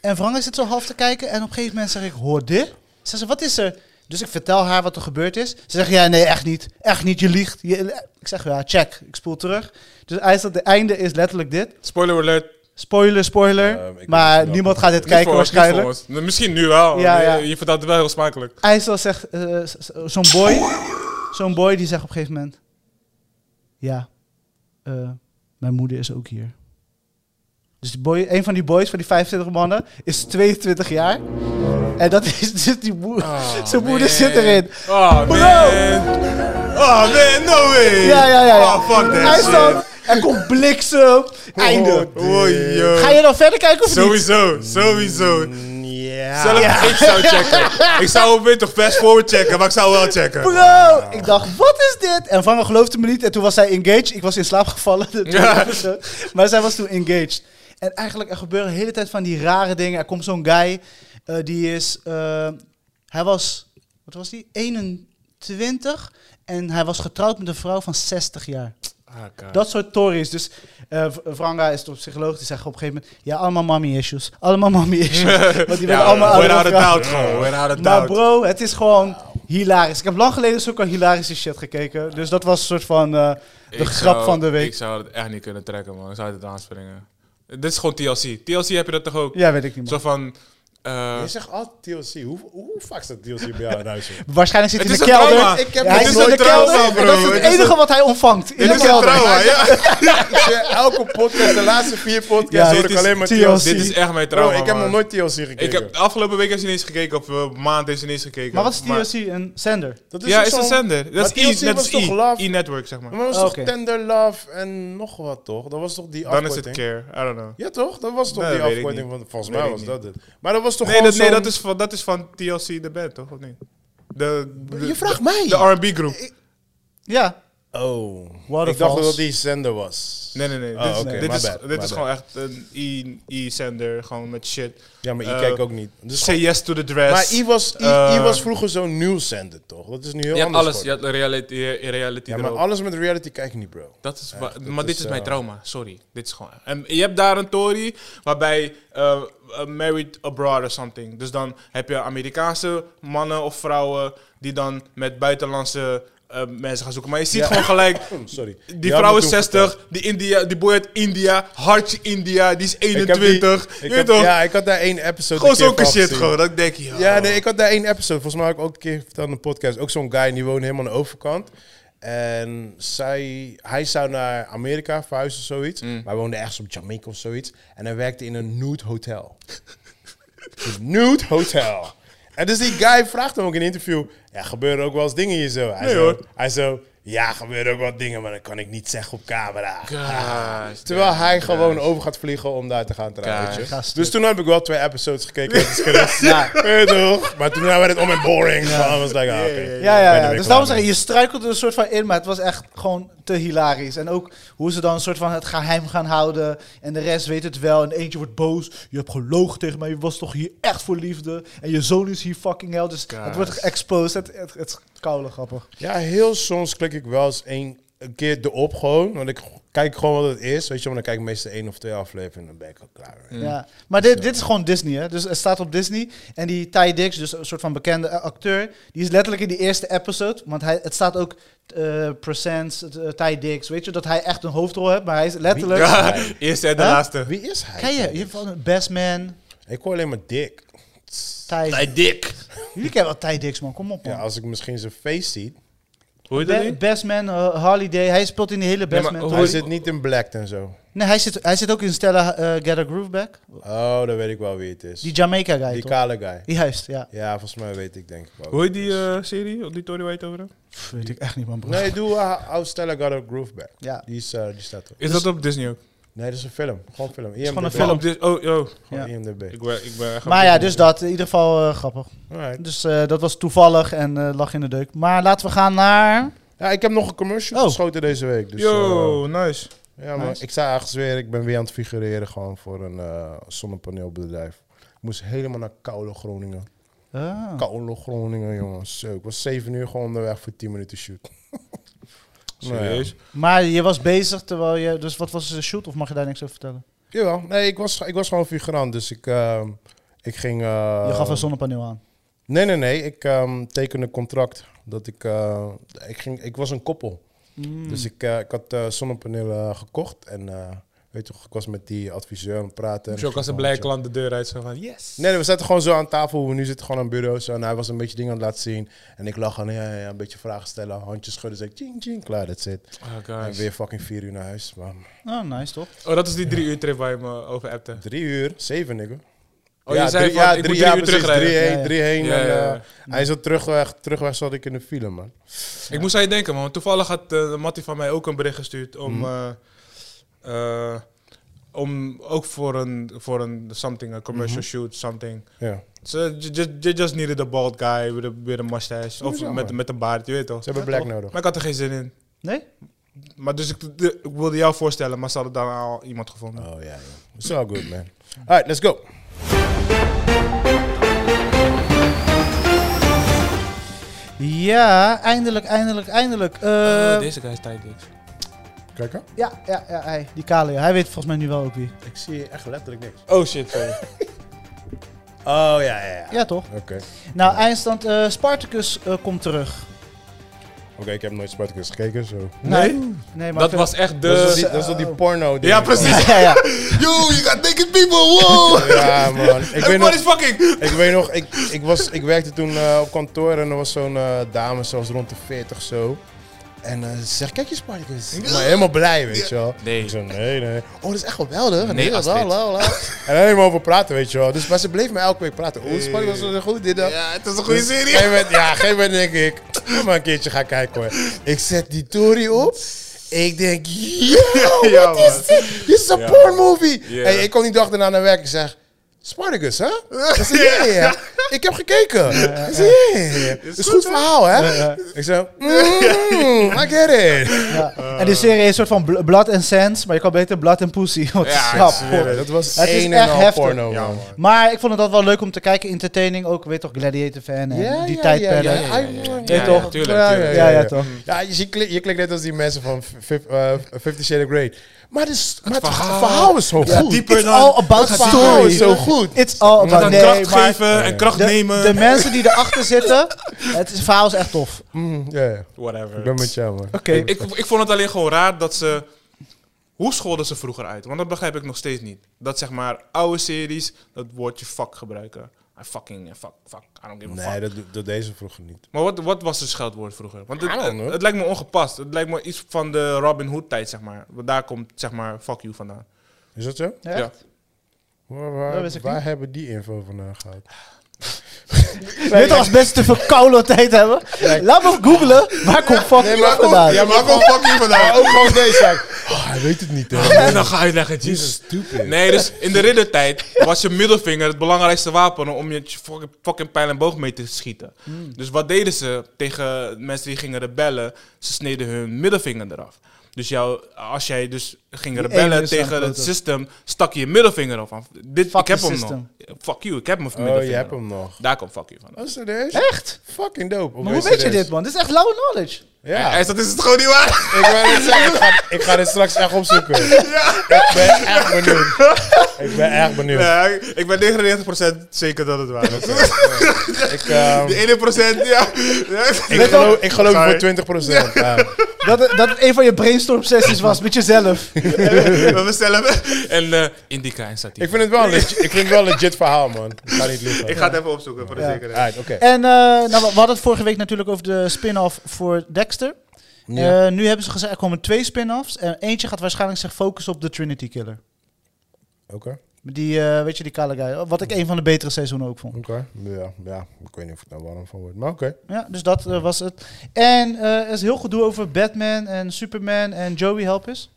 Speaker 2: En Frank zit zo half te kijken. En op een gegeven moment zeg ik, hoor dit? Ze zegt, wat is er? Dus ik vertel haar wat er gebeurd is. Ze zegt, ja, nee, echt niet. Echt niet, je liegt. Je- ik zeg, ja, check. Ik spoel terug. Dus eigenlijk het einde is letterlijk dit.
Speaker 1: Spoiler alert.
Speaker 2: Spoiler, spoiler.
Speaker 3: Ehm, ik weet het
Speaker 2: maar
Speaker 3: wel.
Speaker 2: niemand gaat dit
Speaker 1: Niet
Speaker 2: kijken
Speaker 1: voor ons, niet
Speaker 2: waarschijnlijk.
Speaker 1: voor ons. Misschien nu wel.
Speaker 2: Ja,
Speaker 1: Je-
Speaker 2: ja.
Speaker 1: Je vertelt het wel heel smakelijk.
Speaker 2: IJssel zegt, eh, z- z- zo'n boy, zo'n boy die zegt op een gegeven moment, ja, eh, mijn moeder is ook hier. Dus die boy, een van die boys van die 25 mannen is 22 jaar. En dat is dus die moeder.
Speaker 1: Oh,
Speaker 2: zijn moeder
Speaker 1: man.
Speaker 2: zit erin.
Speaker 1: Oh man. Oh man, no way.
Speaker 2: Ja, ja, ja. ja.
Speaker 1: Oh, fuck that
Speaker 2: IJsland, er komt bliksem. Einde.
Speaker 1: shit. Oh, yo.
Speaker 2: Ga je dan verder kijken of niet?
Speaker 1: Sowieso, sowieso.
Speaker 3: Ja.
Speaker 1: Zelf, ik zou checken. Ik zou weer toch fast forward checken, maar ik zou wel checken.
Speaker 2: Bro, ik dacht, wat is dit? En Vangen geloofde me niet. En toen was zij engaged. Ik was in slaap gevallen. de tweede episode. Maar zij was toen engaged. En eigenlijk, er gebeuren de hele tijd van die rare dingen. Er komt zo'n guy, eh, die is... eh, hij was, wat was die? 21. En hij was getrouwd met een vrouw van 60 jaar.
Speaker 1: Ah,
Speaker 2: Dat soort tories. Dus eh, V- Vranga is toch psycholoog. Die zegt op een gegeven moment... Ja, allemaal mommy issues. Allemaal mommy issues. Want die werden allemaal ouder
Speaker 1: Without a
Speaker 2: vrouwen.
Speaker 1: doubt gewoon, without a
Speaker 3: Nou,
Speaker 2: Maar
Speaker 1: doubt.
Speaker 2: Nou, bro, het is gewoon hilarisch. Ik heb lang geleden zulke hilarische shit gekeken. Dus dat was een soort van eh, de
Speaker 1: Ik
Speaker 2: grap
Speaker 1: zou-
Speaker 2: van de
Speaker 1: Ik
Speaker 2: week.
Speaker 1: zou het echt niet kunnen trekken, man. Ik zou het aanspringen. Dit is gewoon TLC. TLC heb je dat toch ook?
Speaker 2: Ja, weet ik niet
Speaker 1: Zo
Speaker 2: meer.
Speaker 1: van... eh,
Speaker 3: Je zegt altijd TLC. Hoe, hoe vaak staat TLC bij jou in huis?
Speaker 2: Waarschijnlijk zit
Speaker 1: het
Speaker 2: hij in
Speaker 1: is
Speaker 2: de
Speaker 1: een
Speaker 2: kelder.
Speaker 1: trauma.
Speaker 3: Ik heb-
Speaker 2: Ja,
Speaker 1: het
Speaker 2: hij
Speaker 1: is
Speaker 2: zit in
Speaker 1: een
Speaker 2: de
Speaker 1: trauma,
Speaker 2: kelder.
Speaker 1: bro.
Speaker 2: en dat is
Speaker 1: Het
Speaker 2: het
Speaker 1: is
Speaker 2: enige
Speaker 1: een-
Speaker 2: wat hij ontvangt. In
Speaker 1: Dit
Speaker 2: de
Speaker 1: is een
Speaker 2: kelder.
Speaker 1: trauma, ja.
Speaker 3: Elke podcast, de laatste vier podcasts,
Speaker 2: Ja,
Speaker 3: hoor ik
Speaker 1: dit is
Speaker 3: alleen maar
Speaker 2: TLC.
Speaker 3: TLC.
Speaker 1: Dit is echt mijn
Speaker 3: Bro,
Speaker 1: trauma,
Speaker 3: ik heb
Speaker 1: man.
Speaker 3: nog nooit TLC gekeken.
Speaker 1: Ik heb de afgelopen week eens ineens gekeken, of eh, maand eens ineens gekeken.
Speaker 2: Maar wat is TLC? Een zender?
Speaker 3: Dat
Speaker 1: ja,
Speaker 3: toch
Speaker 1: is een
Speaker 3: zo'n-
Speaker 1: zender.
Speaker 3: Maar
Speaker 1: Dat is
Speaker 3: TLC
Speaker 1: E, net
Speaker 3: was
Speaker 1: als
Speaker 3: toch Love?
Speaker 1: E. E-network, zeg maar.
Speaker 3: Maar dat was
Speaker 2: Oh,
Speaker 3: toch
Speaker 2: oké.
Speaker 3: Tender Love en nog wat, toch? Dat was toch die
Speaker 1: Dan is het
Speaker 3: afkorting?
Speaker 1: care. I don't know.
Speaker 3: Ja, toch? Dat was toch
Speaker 1: Nee,
Speaker 3: die
Speaker 1: dat weet ik
Speaker 3: afkorting?
Speaker 1: niet.
Speaker 3: Want volgens
Speaker 1: Weet
Speaker 3: mij
Speaker 1: ik
Speaker 3: was
Speaker 1: niet.
Speaker 3: dat het. Maar dat was toch
Speaker 1: Nee,
Speaker 3: gewoon
Speaker 1: dat, nee
Speaker 3: zo'n-
Speaker 1: dat, is van, dat is van TLC de band, toch? Of niet? De, de-
Speaker 3: Je vraagt mij!
Speaker 1: De R&B groep.
Speaker 2: Ja.
Speaker 3: Oh.
Speaker 2: Waterfalls.
Speaker 3: Ik dacht dat dat die zender was.
Speaker 1: Nee, nee, nee.
Speaker 3: Oh,
Speaker 1: dit is,
Speaker 3: oké,
Speaker 1: dit
Speaker 3: my
Speaker 1: is,
Speaker 3: bad,
Speaker 1: dit
Speaker 3: my
Speaker 1: is
Speaker 3: bad.
Speaker 1: gewoon echt een E- E-zender. Gewoon met shit.
Speaker 3: Ja, maar je
Speaker 1: Eh,
Speaker 3: kijkt ook niet. Dus
Speaker 1: Say yes to the dress.
Speaker 3: Maar I was, I,
Speaker 1: Eh,
Speaker 3: I was vroeger zo'n nieuwszender, toch? Dat is nu heel
Speaker 1: je hebt
Speaker 3: anders.
Speaker 1: alles. Je
Speaker 3: geworden.
Speaker 1: hebt reality, eh, reality
Speaker 3: ja, maar
Speaker 1: erop.
Speaker 3: alles met reality kijk ik niet, bro.
Speaker 1: Dat is wa-
Speaker 3: dat
Speaker 1: maar dit
Speaker 3: is,
Speaker 1: is mijn
Speaker 3: eh,
Speaker 1: trauma, sorry. Dit is gewoon. En je hebt daar een Tory waarbij eh, eh, married abroad or something. Dus dan heb je Amerikaanse mannen of vrouwen die dan met buitenlandse eh, mensen gaan zoeken. Maar je ziet gewoon gelijk.
Speaker 3: Oh, sorry.
Speaker 1: Die
Speaker 3: Ja,
Speaker 1: vrouw
Speaker 3: maar
Speaker 1: is
Speaker 3: toen
Speaker 1: 60, die, India, die boy uit India, hartje India, die is
Speaker 3: Ik heb die-
Speaker 1: 21.
Speaker 3: ik
Speaker 1: je
Speaker 3: heb-
Speaker 1: weet toch?
Speaker 3: Ja, ik had daar één episode
Speaker 1: gewoon
Speaker 3: een keer
Speaker 1: zulke
Speaker 3: van
Speaker 1: shit
Speaker 3: gezien.
Speaker 1: gewoon. Dat denk je.
Speaker 3: Ja, nee, ik had daar één episode. Volgens mij had ik ook een keer verteld in een podcast. Ook zo'n guy, die woonde helemaal aan de overkant. En zij, hij zou naar Amerika verhuizen of zoiets.
Speaker 1: Mm.
Speaker 3: Maar hij woonde ergens op Jamaica of zoiets. En hij werkte in een nude hotel. Een nude hotel. En dus die guy vraagt hem ook in een interview... Ja, gebeuren ook wel eens dingen hier zo? Hij
Speaker 1: Nee,
Speaker 3: zo,
Speaker 1: hoor.
Speaker 3: Hij zo, ja, gebeuren ook wel dingen, maar dat kan ik niet zeggen op camera.
Speaker 1: Gosh,
Speaker 3: Terwijl
Speaker 1: damn,
Speaker 3: hij gewoon
Speaker 1: gosh.
Speaker 3: over gaat vliegen om daar te gaan trouwen.
Speaker 1: Kijk.
Speaker 3: weet je.
Speaker 2: Gast.
Speaker 3: Dus toen heb ik wel twee episodes gekeken. Dat is gerust.
Speaker 2: Ja.
Speaker 3: Weet je toch? Maar toen werd het om en boring. Ja. I was like, ah, oké.
Speaker 2: Ja,
Speaker 3: Ik
Speaker 2: ja,
Speaker 3: ben er
Speaker 2: ja.
Speaker 3: weer
Speaker 2: Dus
Speaker 3: klaar
Speaker 2: daarom zeg ik,
Speaker 3: mee.
Speaker 2: je struikelt er een soort van in, maar het was echt gewoon te hilarisch. En ook hoe ze dan een soort van het geheim gaan houden en de rest weet het wel. En eentje wordt boos, je hebt gelogen tegen mij, je was toch hier echt voor liefde. En je zoon is hier fucking hell, dus het wordt geëxposed. Het, het, het is koude grappig.
Speaker 3: Ja, heel soms klik ik wel eens een, een keer erop gewoon. Want ik kijk gewoon wat het is. Weet je, want dan kijk ik meestal één of twee afleveringen en dan ben ik al klaar. mee.
Speaker 2: Ja. Maar dit, dit is gewoon Disney, hè. Dus het staat op Disney. En die Ty Dix, dus een soort van bekende eh, acteur, die is letterlijk in die eerste episode, want hij, het staat ook... eh Presents, eh, Ty Dix, weet je dat hij echt een hoofdrol heeft, maar hij is letterlijk.
Speaker 1: Ja, eerste en de
Speaker 2: Huh?
Speaker 1: laatste.
Speaker 3: Wie is hij?
Speaker 2: Ken je? Je hebt van Best Man,
Speaker 3: Ik hoor alleen maar dik.
Speaker 2: Ty.
Speaker 1: Bij Dick.
Speaker 2: Jullie kennen wel Ty Dix, man. Kom op, man.
Speaker 3: Ja, als ik misschien zijn face zie.
Speaker 1: Hoe je
Speaker 2: Be-
Speaker 1: dat niet?
Speaker 2: Best Man, eh, Harley Day. Hij speelt in de hele Best
Speaker 1: maar
Speaker 2: Man.
Speaker 1: hoe-
Speaker 3: Hij
Speaker 2: Hij-
Speaker 3: zit niet in black en zo.
Speaker 2: Nee, hij zit, hij zit ook in Stella eh, Get a Groove Back.
Speaker 3: Oh, dan weet ik wel wie het is.
Speaker 2: Die
Speaker 3: Die,
Speaker 2: Jamaica guy, toch?
Speaker 3: kale guy.
Speaker 2: Juist, ja.
Speaker 3: Ja, volgens mij weet ik denk ik wel.
Speaker 1: Hoe
Speaker 3: wie
Speaker 1: heet
Speaker 3: het
Speaker 1: die
Speaker 3: is.
Speaker 1: eh, serie? Op die Tory White over hebt?
Speaker 2: Pff, weet ik echt niet, man, bro.
Speaker 3: Nee, doe uh, How Stella Got a Groove Back.
Speaker 2: Ja.
Speaker 3: Die, is, eh, die staat er.
Speaker 1: Is dat op Disney ook?
Speaker 3: Nee, dat is een film. Gewoon film. E IMDb.
Speaker 2: gewoon een
Speaker 1: Oh,
Speaker 2: film.
Speaker 1: op Dis- oh, oh.
Speaker 3: Gewoon E
Speaker 2: Ja.
Speaker 3: IMDb.
Speaker 1: Ik ben, ik ben echt op
Speaker 2: Maar ja,
Speaker 1: Disney.
Speaker 2: dus dat. In ieder geval eh, grappig.
Speaker 3: Alright.
Speaker 2: Dus eh, dat was toevallig en eh, lag in de deuk. Maar laten we gaan naar...
Speaker 3: Ja, ik heb nog een commercial
Speaker 2: Oh.
Speaker 3: geschoten deze week. Dus,
Speaker 1: Yo, nice.
Speaker 3: eh, ja, maar
Speaker 2: Nice.
Speaker 3: ik sta ergens weer. Ik ben weer aan het figureren gewoon voor een eh, zonnepaneelbedrijf. Ik moest helemaal naar Koude Groningen.
Speaker 2: Ah.
Speaker 3: Koude Groningen, jongen. Zo, ik was 7 uur gewoon onderweg voor 10 minuten shoot. Nou ja.
Speaker 1: Serieus?
Speaker 2: Maar je was bezig terwijl je... Dus wat was de shoot? Of mag je daar niks over vertellen?
Speaker 3: Jawel. Nee, ik was, ik was gewoon figurant. Dus ik, ehm, ik ging... eh,
Speaker 2: Je gaf een zonnepaneel aan.
Speaker 3: Nee, nee, nee. Ik ehm, tekende een contract. Dat ik, eh,
Speaker 2: Mm.
Speaker 1: Hmm.
Speaker 3: Dus ik, ging, ik was een koppel. Dus ik, eh, ik had eh, zonnepanelen gekocht. En eh, weet Weet je toch, ik was met die adviseur aan het praten.
Speaker 1: Dus ook als een blij
Speaker 3: blijkt.
Speaker 1: klant de deur uit zo van yes.
Speaker 3: Nee, nee, we zaten gewoon zo aan tafel. hoe We nu zitten gewoon aan bureaus. En hij was een beetje dingen aan het laten zien. En ik lag aan, ja, ja, ja, een beetje vragen stellen. Handjes schudden. Zeg, ching, ching, klaar, that's it.
Speaker 1: Oh,
Speaker 3: En
Speaker 1: gosh.
Speaker 3: weer fucking vier uur naar huis. Maar
Speaker 2: Oh, nice toch?
Speaker 1: oh, dat is die drie uur trip waar je me over appte.
Speaker 3: drie uur, zeven, nigga.
Speaker 1: Oh, je zei van, ik moet drie
Speaker 3: ja,
Speaker 1: uur
Speaker 3: precies,
Speaker 1: terugrijden.
Speaker 3: Drie heen,
Speaker 2: Ja, ja.
Speaker 3: drie heen.
Speaker 1: Ja,
Speaker 3: en,
Speaker 1: ja, ja.
Speaker 3: eh, Hij is op terugweg, terugweg zat ik in de file, man.
Speaker 1: Ik moest aan je denken, man. want Toevallig had eh Mattie van mij ook een bericht gestuurd om.
Speaker 3: Mhm.
Speaker 1: eh, eh, om ook voor een, voor een something, een commercial
Speaker 3: Mhm.
Speaker 1: shoot, something.
Speaker 3: Ja.
Speaker 1: So, you, just, you just needed a bald guy with a, with a mustache. Of
Speaker 3: Hoezo,
Speaker 1: met,
Speaker 3: man?
Speaker 1: met een baard, je weet toch.
Speaker 3: Ze hebben
Speaker 2: Ja,
Speaker 3: black
Speaker 2: toch?
Speaker 3: nodig.
Speaker 1: Maar ik had er geen zin in.
Speaker 2: Nee?
Speaker 1: Maar dus ik, de- ik wilde jou voorstellen, maar ze hadden daar al iemand gevonden.
Speaker 3: Oh, ja, ja. It's all good, man. All right, let's go.
Speaker 2: Ja, eindelijk, eindelijk, eindelijk. Eh,
Speaker 1: deze guy is tijdelijk.
Speaker 3: Kijk, hè.
Speaker 2: ja, ja, ja, hij, die kale. Hij weet volgens mij nu wel ook wie.
Speaker 3: ik zie echt letterlijk niks.
Speaker 1: Oh shit, sorry.
Speaker 3: Oh, ja, ja, ja.
Speaker 2: Ja, toch?
Speaker 3: Oké.
Speaker 2: Nou, eindstand, eh, Spartacus eh, komt terug.
Speaker 3: Oké, ik heb nooit Spartacus gekeken, zo.
Speaker 1: Nee?
Speaker 2: Nou, Nee, maar
Speaker 1: dat
Speaker 2: ik
Speaker 1: was echt
Speaker 3: Dat is wel
Speaker 1: de...
Speaker 3: die, dat is wel die porno.
Speaker 1: Dus- Ja, precies.
Speaker 2: vind- Ja, ja.
Speaker 1: Yo, you got naked people, wow!
Speaker 3: Ja, man. Ik weet nog,
Speaker 1: Everybody's fucking...
Speaker 3: ik, weet nog ik, ik, was, ik werkte toen eh, op kantoor en er was zo'n eh, dame, zelfs rond de 40 zo. En eh, ze zegt, kijk je Spartacus. Maar helemaal blij, weet je wel.
Speaker 1: Nee.
Speaker 3: Ik zo, nee, nee. Oh, dat is echt geweldig.
Speaker 1: Nee,
Speaker 3: Nee, dat
Speaker 1: Astrid.
Speaker 3: la, la, la. En daar helemaal over praten, weet je wel. Dus, maar ze bleef me elke week praten. Oh, Spartacus was een goed, dit, dat.
Speaker 1: Ja, het is een
Speaker 3: Dus
Speaker 1: goede
Speaker 3: op een
Speaker 1: serie.
Speaker 3: gegeven moment- ja, op een gegeven moment denk ik, kom maar een keertje gaan kijken hoor. Ik zet die Tory op. Ik denk, yo,
Speaker 1: Ja,
Speaker 3: wat is
Speaker 1: man.
Speaker 3: dit? Dit is een
Speaker 1: Ja.
Speaker 3: porn movie.
Speaker 1: Ja.
Speaker 3: Hey, ik kom die dag daarna naar werk en zeg, Spartacus, hè? Ik zeg, ja, ja, ja. Ik heb gekeken. Ik zeg, ja, ja, ja. Het is een goed verhaal, hè? Ik zeg, mm, I get it.
Speaker 2: Ja. en die serie is een soort van bl- Blood and Sands, maar je kan beter Blood and Pussy. Want
Speaker 1: Ja,
Speaker 2: ja,
Speaker 1: ik zweer
Speaker 2: goh.
Speaker 3: Dat was
Speaker 2: Het is
Speaker 3: één
Speaker 2: echt
Speaker 3: en een half
Speaker 2: heftig.
Speaker 3: porno,
Speaker 1: Ja,
Speaker 3: man.
Speaker 1: man.
Speaker 2: Maar ik vond het altijd wel leuk om te kijken. Entertaining ook, weet toch, Gladiator fan en die
Speaker 3: ja,
Speaker 2: tijdperk.
Speaker 3: ja,
Speaker 2: Ja,
Speaker 3: ja,
Speaker 2: Ja,
Speaker 3: ja,
Speaker 2: toch?
Speaker 1: ja, tuurlijk,
Speaker 3: Ja,
Speaker 1: tuurlijk. Mm.
Speaker 2: ja, toch.
Speaker 3: Ja, je, ziet- je klikt net als die mensen van Fif- eh, Fifty Shades of Grey. Maar, het is- maar het, verhaal,
Speaker 1: verhaal-
Speaker 3: is zo goed.
Speaker 1: dieper
Speaker 2: It's
Speaker 1: dan-
Speaker 2: all about
Speaker 3: het verhaal
Speaker 2: story.
Speaker 3: is zo goed.
Speaker 2: It's all
Speaker 1: Maar
Speaker 2: about...
Speaker 1: dan
Speaker 2: Nee,
Speaker 1: kracht
Speaker 2: maar
Speaker 1: geven en kracht
Speaker 2: de,
Speaker 1: nemen.
Speaker 2: de mensen die erachter zitten, het is- verhaal is echt tof.
Speaker 3: Mm, ja, ja.
Speaker 1: Whatever.
Speaker 3: Ik ben met jou, man.
Speaker 2: Oké.
Speaker 1: Ik, ik vond het alleen gewoon raar dat ze... Hoe scholden ze vroeger uit? Want dat begrijp ik nog steeds niet. Dat zeg maar oude series dat woordje fuck gebruiken. I fucking, eh, fuck, fuck, I don't give a fuck.
Speaker 3: Nee, dat, dat deze vroeger niet.
Speaker 1: Maar wat, wat was het scheldwoord vroeger? Want het,
Speaker 3: I don't
Speaker 1: het,
Speaker 3: know.
Speaker 1: het lijkt me ongepast. Het lijkt me iets van de Robin Hood tijd, zeg maar. Want daar komt zeg maar fuck you vandaan.
Speaker 3: Is dat zo?
Speaker 2: Ja.
Speaker 3: Waar, waar,
Speaker 2: Dat wist ik
Speaker 3: waar
Speaker 2: niet.
Speaker 3: hebben die info vandaan gehaald?
Speaker 2: Weet je, als mensen te veel koude tijd hebben, laat me googlen. Waar komt fuck nee, vandaan?
Speaker 3: Ja, maar ook fuck you vandaan. Ook gewoon deze. Oh, hij weet het niet, hè.
Speaker 1: En dan ga je leggen,
Speaker 3: Jesus
Speaker 1: Jesus.
Speaker 3: stupid.
Speaker 1: Nee, dus in de riddertijd was je middelvinger het belangrijkste wapen om je fucking, fucking pijl en boog mee te schieten.
Speaker 2: Hmm.
Speaker 1: Dus wat deden ze tegen mensen die gingen rebellen? Ze sneden hun middelvinger eraf. Dus jou, als jij dus ging
Speaker 2: ene
Speaker 1: rebellen
Speaker 2: is dan
Speaker 1: tegen het
Speaker 2: groter.
Speaker 1: system, stak je je middelvinger af. Dit,
Speaker 2: Fuck
Speaker 1: ik heb
Speaker 2: the
Speaker 1: hem
Speaker 2: system.
Speaker 1: nog. Fuck you, ik heb mijn
Speaker 3: Oh,
Speaker 1: middelvinger.
Speaker 3: je hebt
Speaker 1: nog.
Speaker 3: hem nog.
Speaker 1: Daar komt fuck you van.
Speaker 3: Oh, is dat deze?
Speaker 2: Echt?
Speaker 3: Fucking dope. Of
Speaker 2: Maar hoe
Speaker 3: is
Speaker 2: weet je
Speaker 3: deze?
Speaker 2: dit, man? Dit is echt low knowledge.
Speaker 3: Ja.
Speaker 1: Hij is, dat is het gewoon niet waar.
Speaker 3: Ik, wou net zeggen, ik, ga, ik ga dit straks echt opzoeken. Ik ben echt benieuwd. Ik ben echt benieuwd.
Speaker 1: Nee, ik ben 99% zeker dat het waar is.
Speaker 3: Ik, ehm,
Speaker 1: Die 1%, ja.
Speaker 3: ik, geloof, ik geloof
Speaker 1: Sorry.
Speaker 3: voor 20 procent.
Speaker 2: Dat, het- dat het een van je brainstorm sessies was met jezelf.
Speaker 1: We bestellen hem. En eh, indica en satie.
Speaker 3: ik vind het wel een legit, ik vind het wel een legit verhaal, man. Ik ga niet liegen.
Speaker 1: Ik ga het even opzoeken voor de
Speaker 2: Ja.
Speaker 1: zekerheid.
Speaker 3: Alright, oké.
Speaker 2: En eh, nou, we we hadden het vorige week natuurlijk over de spin-off voor Dexter.
Speaker 3: Ja.
Speaker 2: Eh, nu hebben ze gezegd, er komen twee spin-offs. En eentje gaat waarschijnlijk zich focussen op de Trinity Killer.
Speaker 3: Oké,
Speaker 2: Die, eh, weet je, die kale guy. Wat ik een van de betere seizoenen ook vond.
Speaker 3: oké. Ja, ja, ik weet niet of ik daar warm van word, maar oké.
Speaker 2: Ja, dus dat eh, was het. En eh, er is heel gedoe over Batman en Superman en Joey Helpers.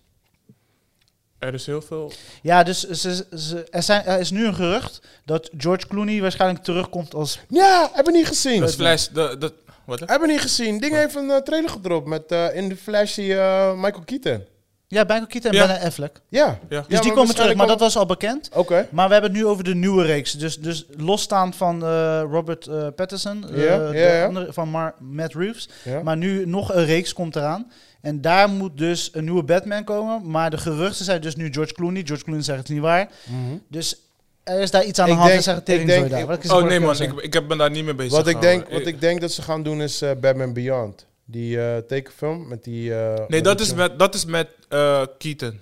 Speaker 1: Er is heel veel.
Speaker 2: Ja, dus ze, ze, er, zijn, er is nu een gerucht dat George Clooney waarschijnlijk terugkomt als...
Speaker 3: Ja, hebben we niet gezien.
Speaker 1: Dat is Flash. Dat, dat, wat? hè?
Speaker 3: Hebben we niet gezien. Ding heeft een eh, trailer gedropt met eh, in de flash die eh, Michael Keaton.
Speaker 2: Ja, Michael Keaton en
Speaker 1: Ja.
Speaker 2: Ben Affleck. Dus
Speaker 3: Ja.
Speaker 1: Ja. Dus
Speaker 2: die komen terug, maar dat was al bekend.
Speaker 3: Oké.
Speaker 2: Maar we hebben het nu over de nieuwe reeks. Dus, dus losstaand van eh, Robert eh, Pattinson, eh,
Speaker 3: Ja,
Speaker 2: de
Speaker 3: ja, ja.
Speaker 2: andere- van Mar Matt Reeves.
Speaker 3: Ja.
Speaker 2: Maar nu nog een reeks komt eraan. En daar moet dus een nieuwe Batman komen. Maar de geruchten zijn dus nu George Clooney. George Clooney zegt het niet waar.
Speaker 3: Mhm.
Speaker 2: Dus er is daar iets aan de
Speaker 3: Ik
Speaker 2: hand.
Speaker 3: denk-
Speaker 2: en zeggen
Speaker 3: ik
Speaker 2: tegen
Speaker 3: denk-
Speaker 2: zo daar.
Speaker 3: ik-
Speaker 2: Wat is
Speaker 1: Oh
Speaker 2: het
Speaker 1: nee
Speaker 2: voor
Speaker 1: man,
Speaker 2: een
Speaker 1: ik, ik heb- ben daar niet mee bezig.
Speaker 3: Wat ik,
Speaker 1: gehouden.
Speaker 3: denk, wat ik denk dat ze gaan doen is eh, Batman Beyond. Die eh, tekenfilm met die... eh,
Speaker 1: Nee, dat
Speaker 3: die-
Speaker 1: is met, dat is met eh, Keaton.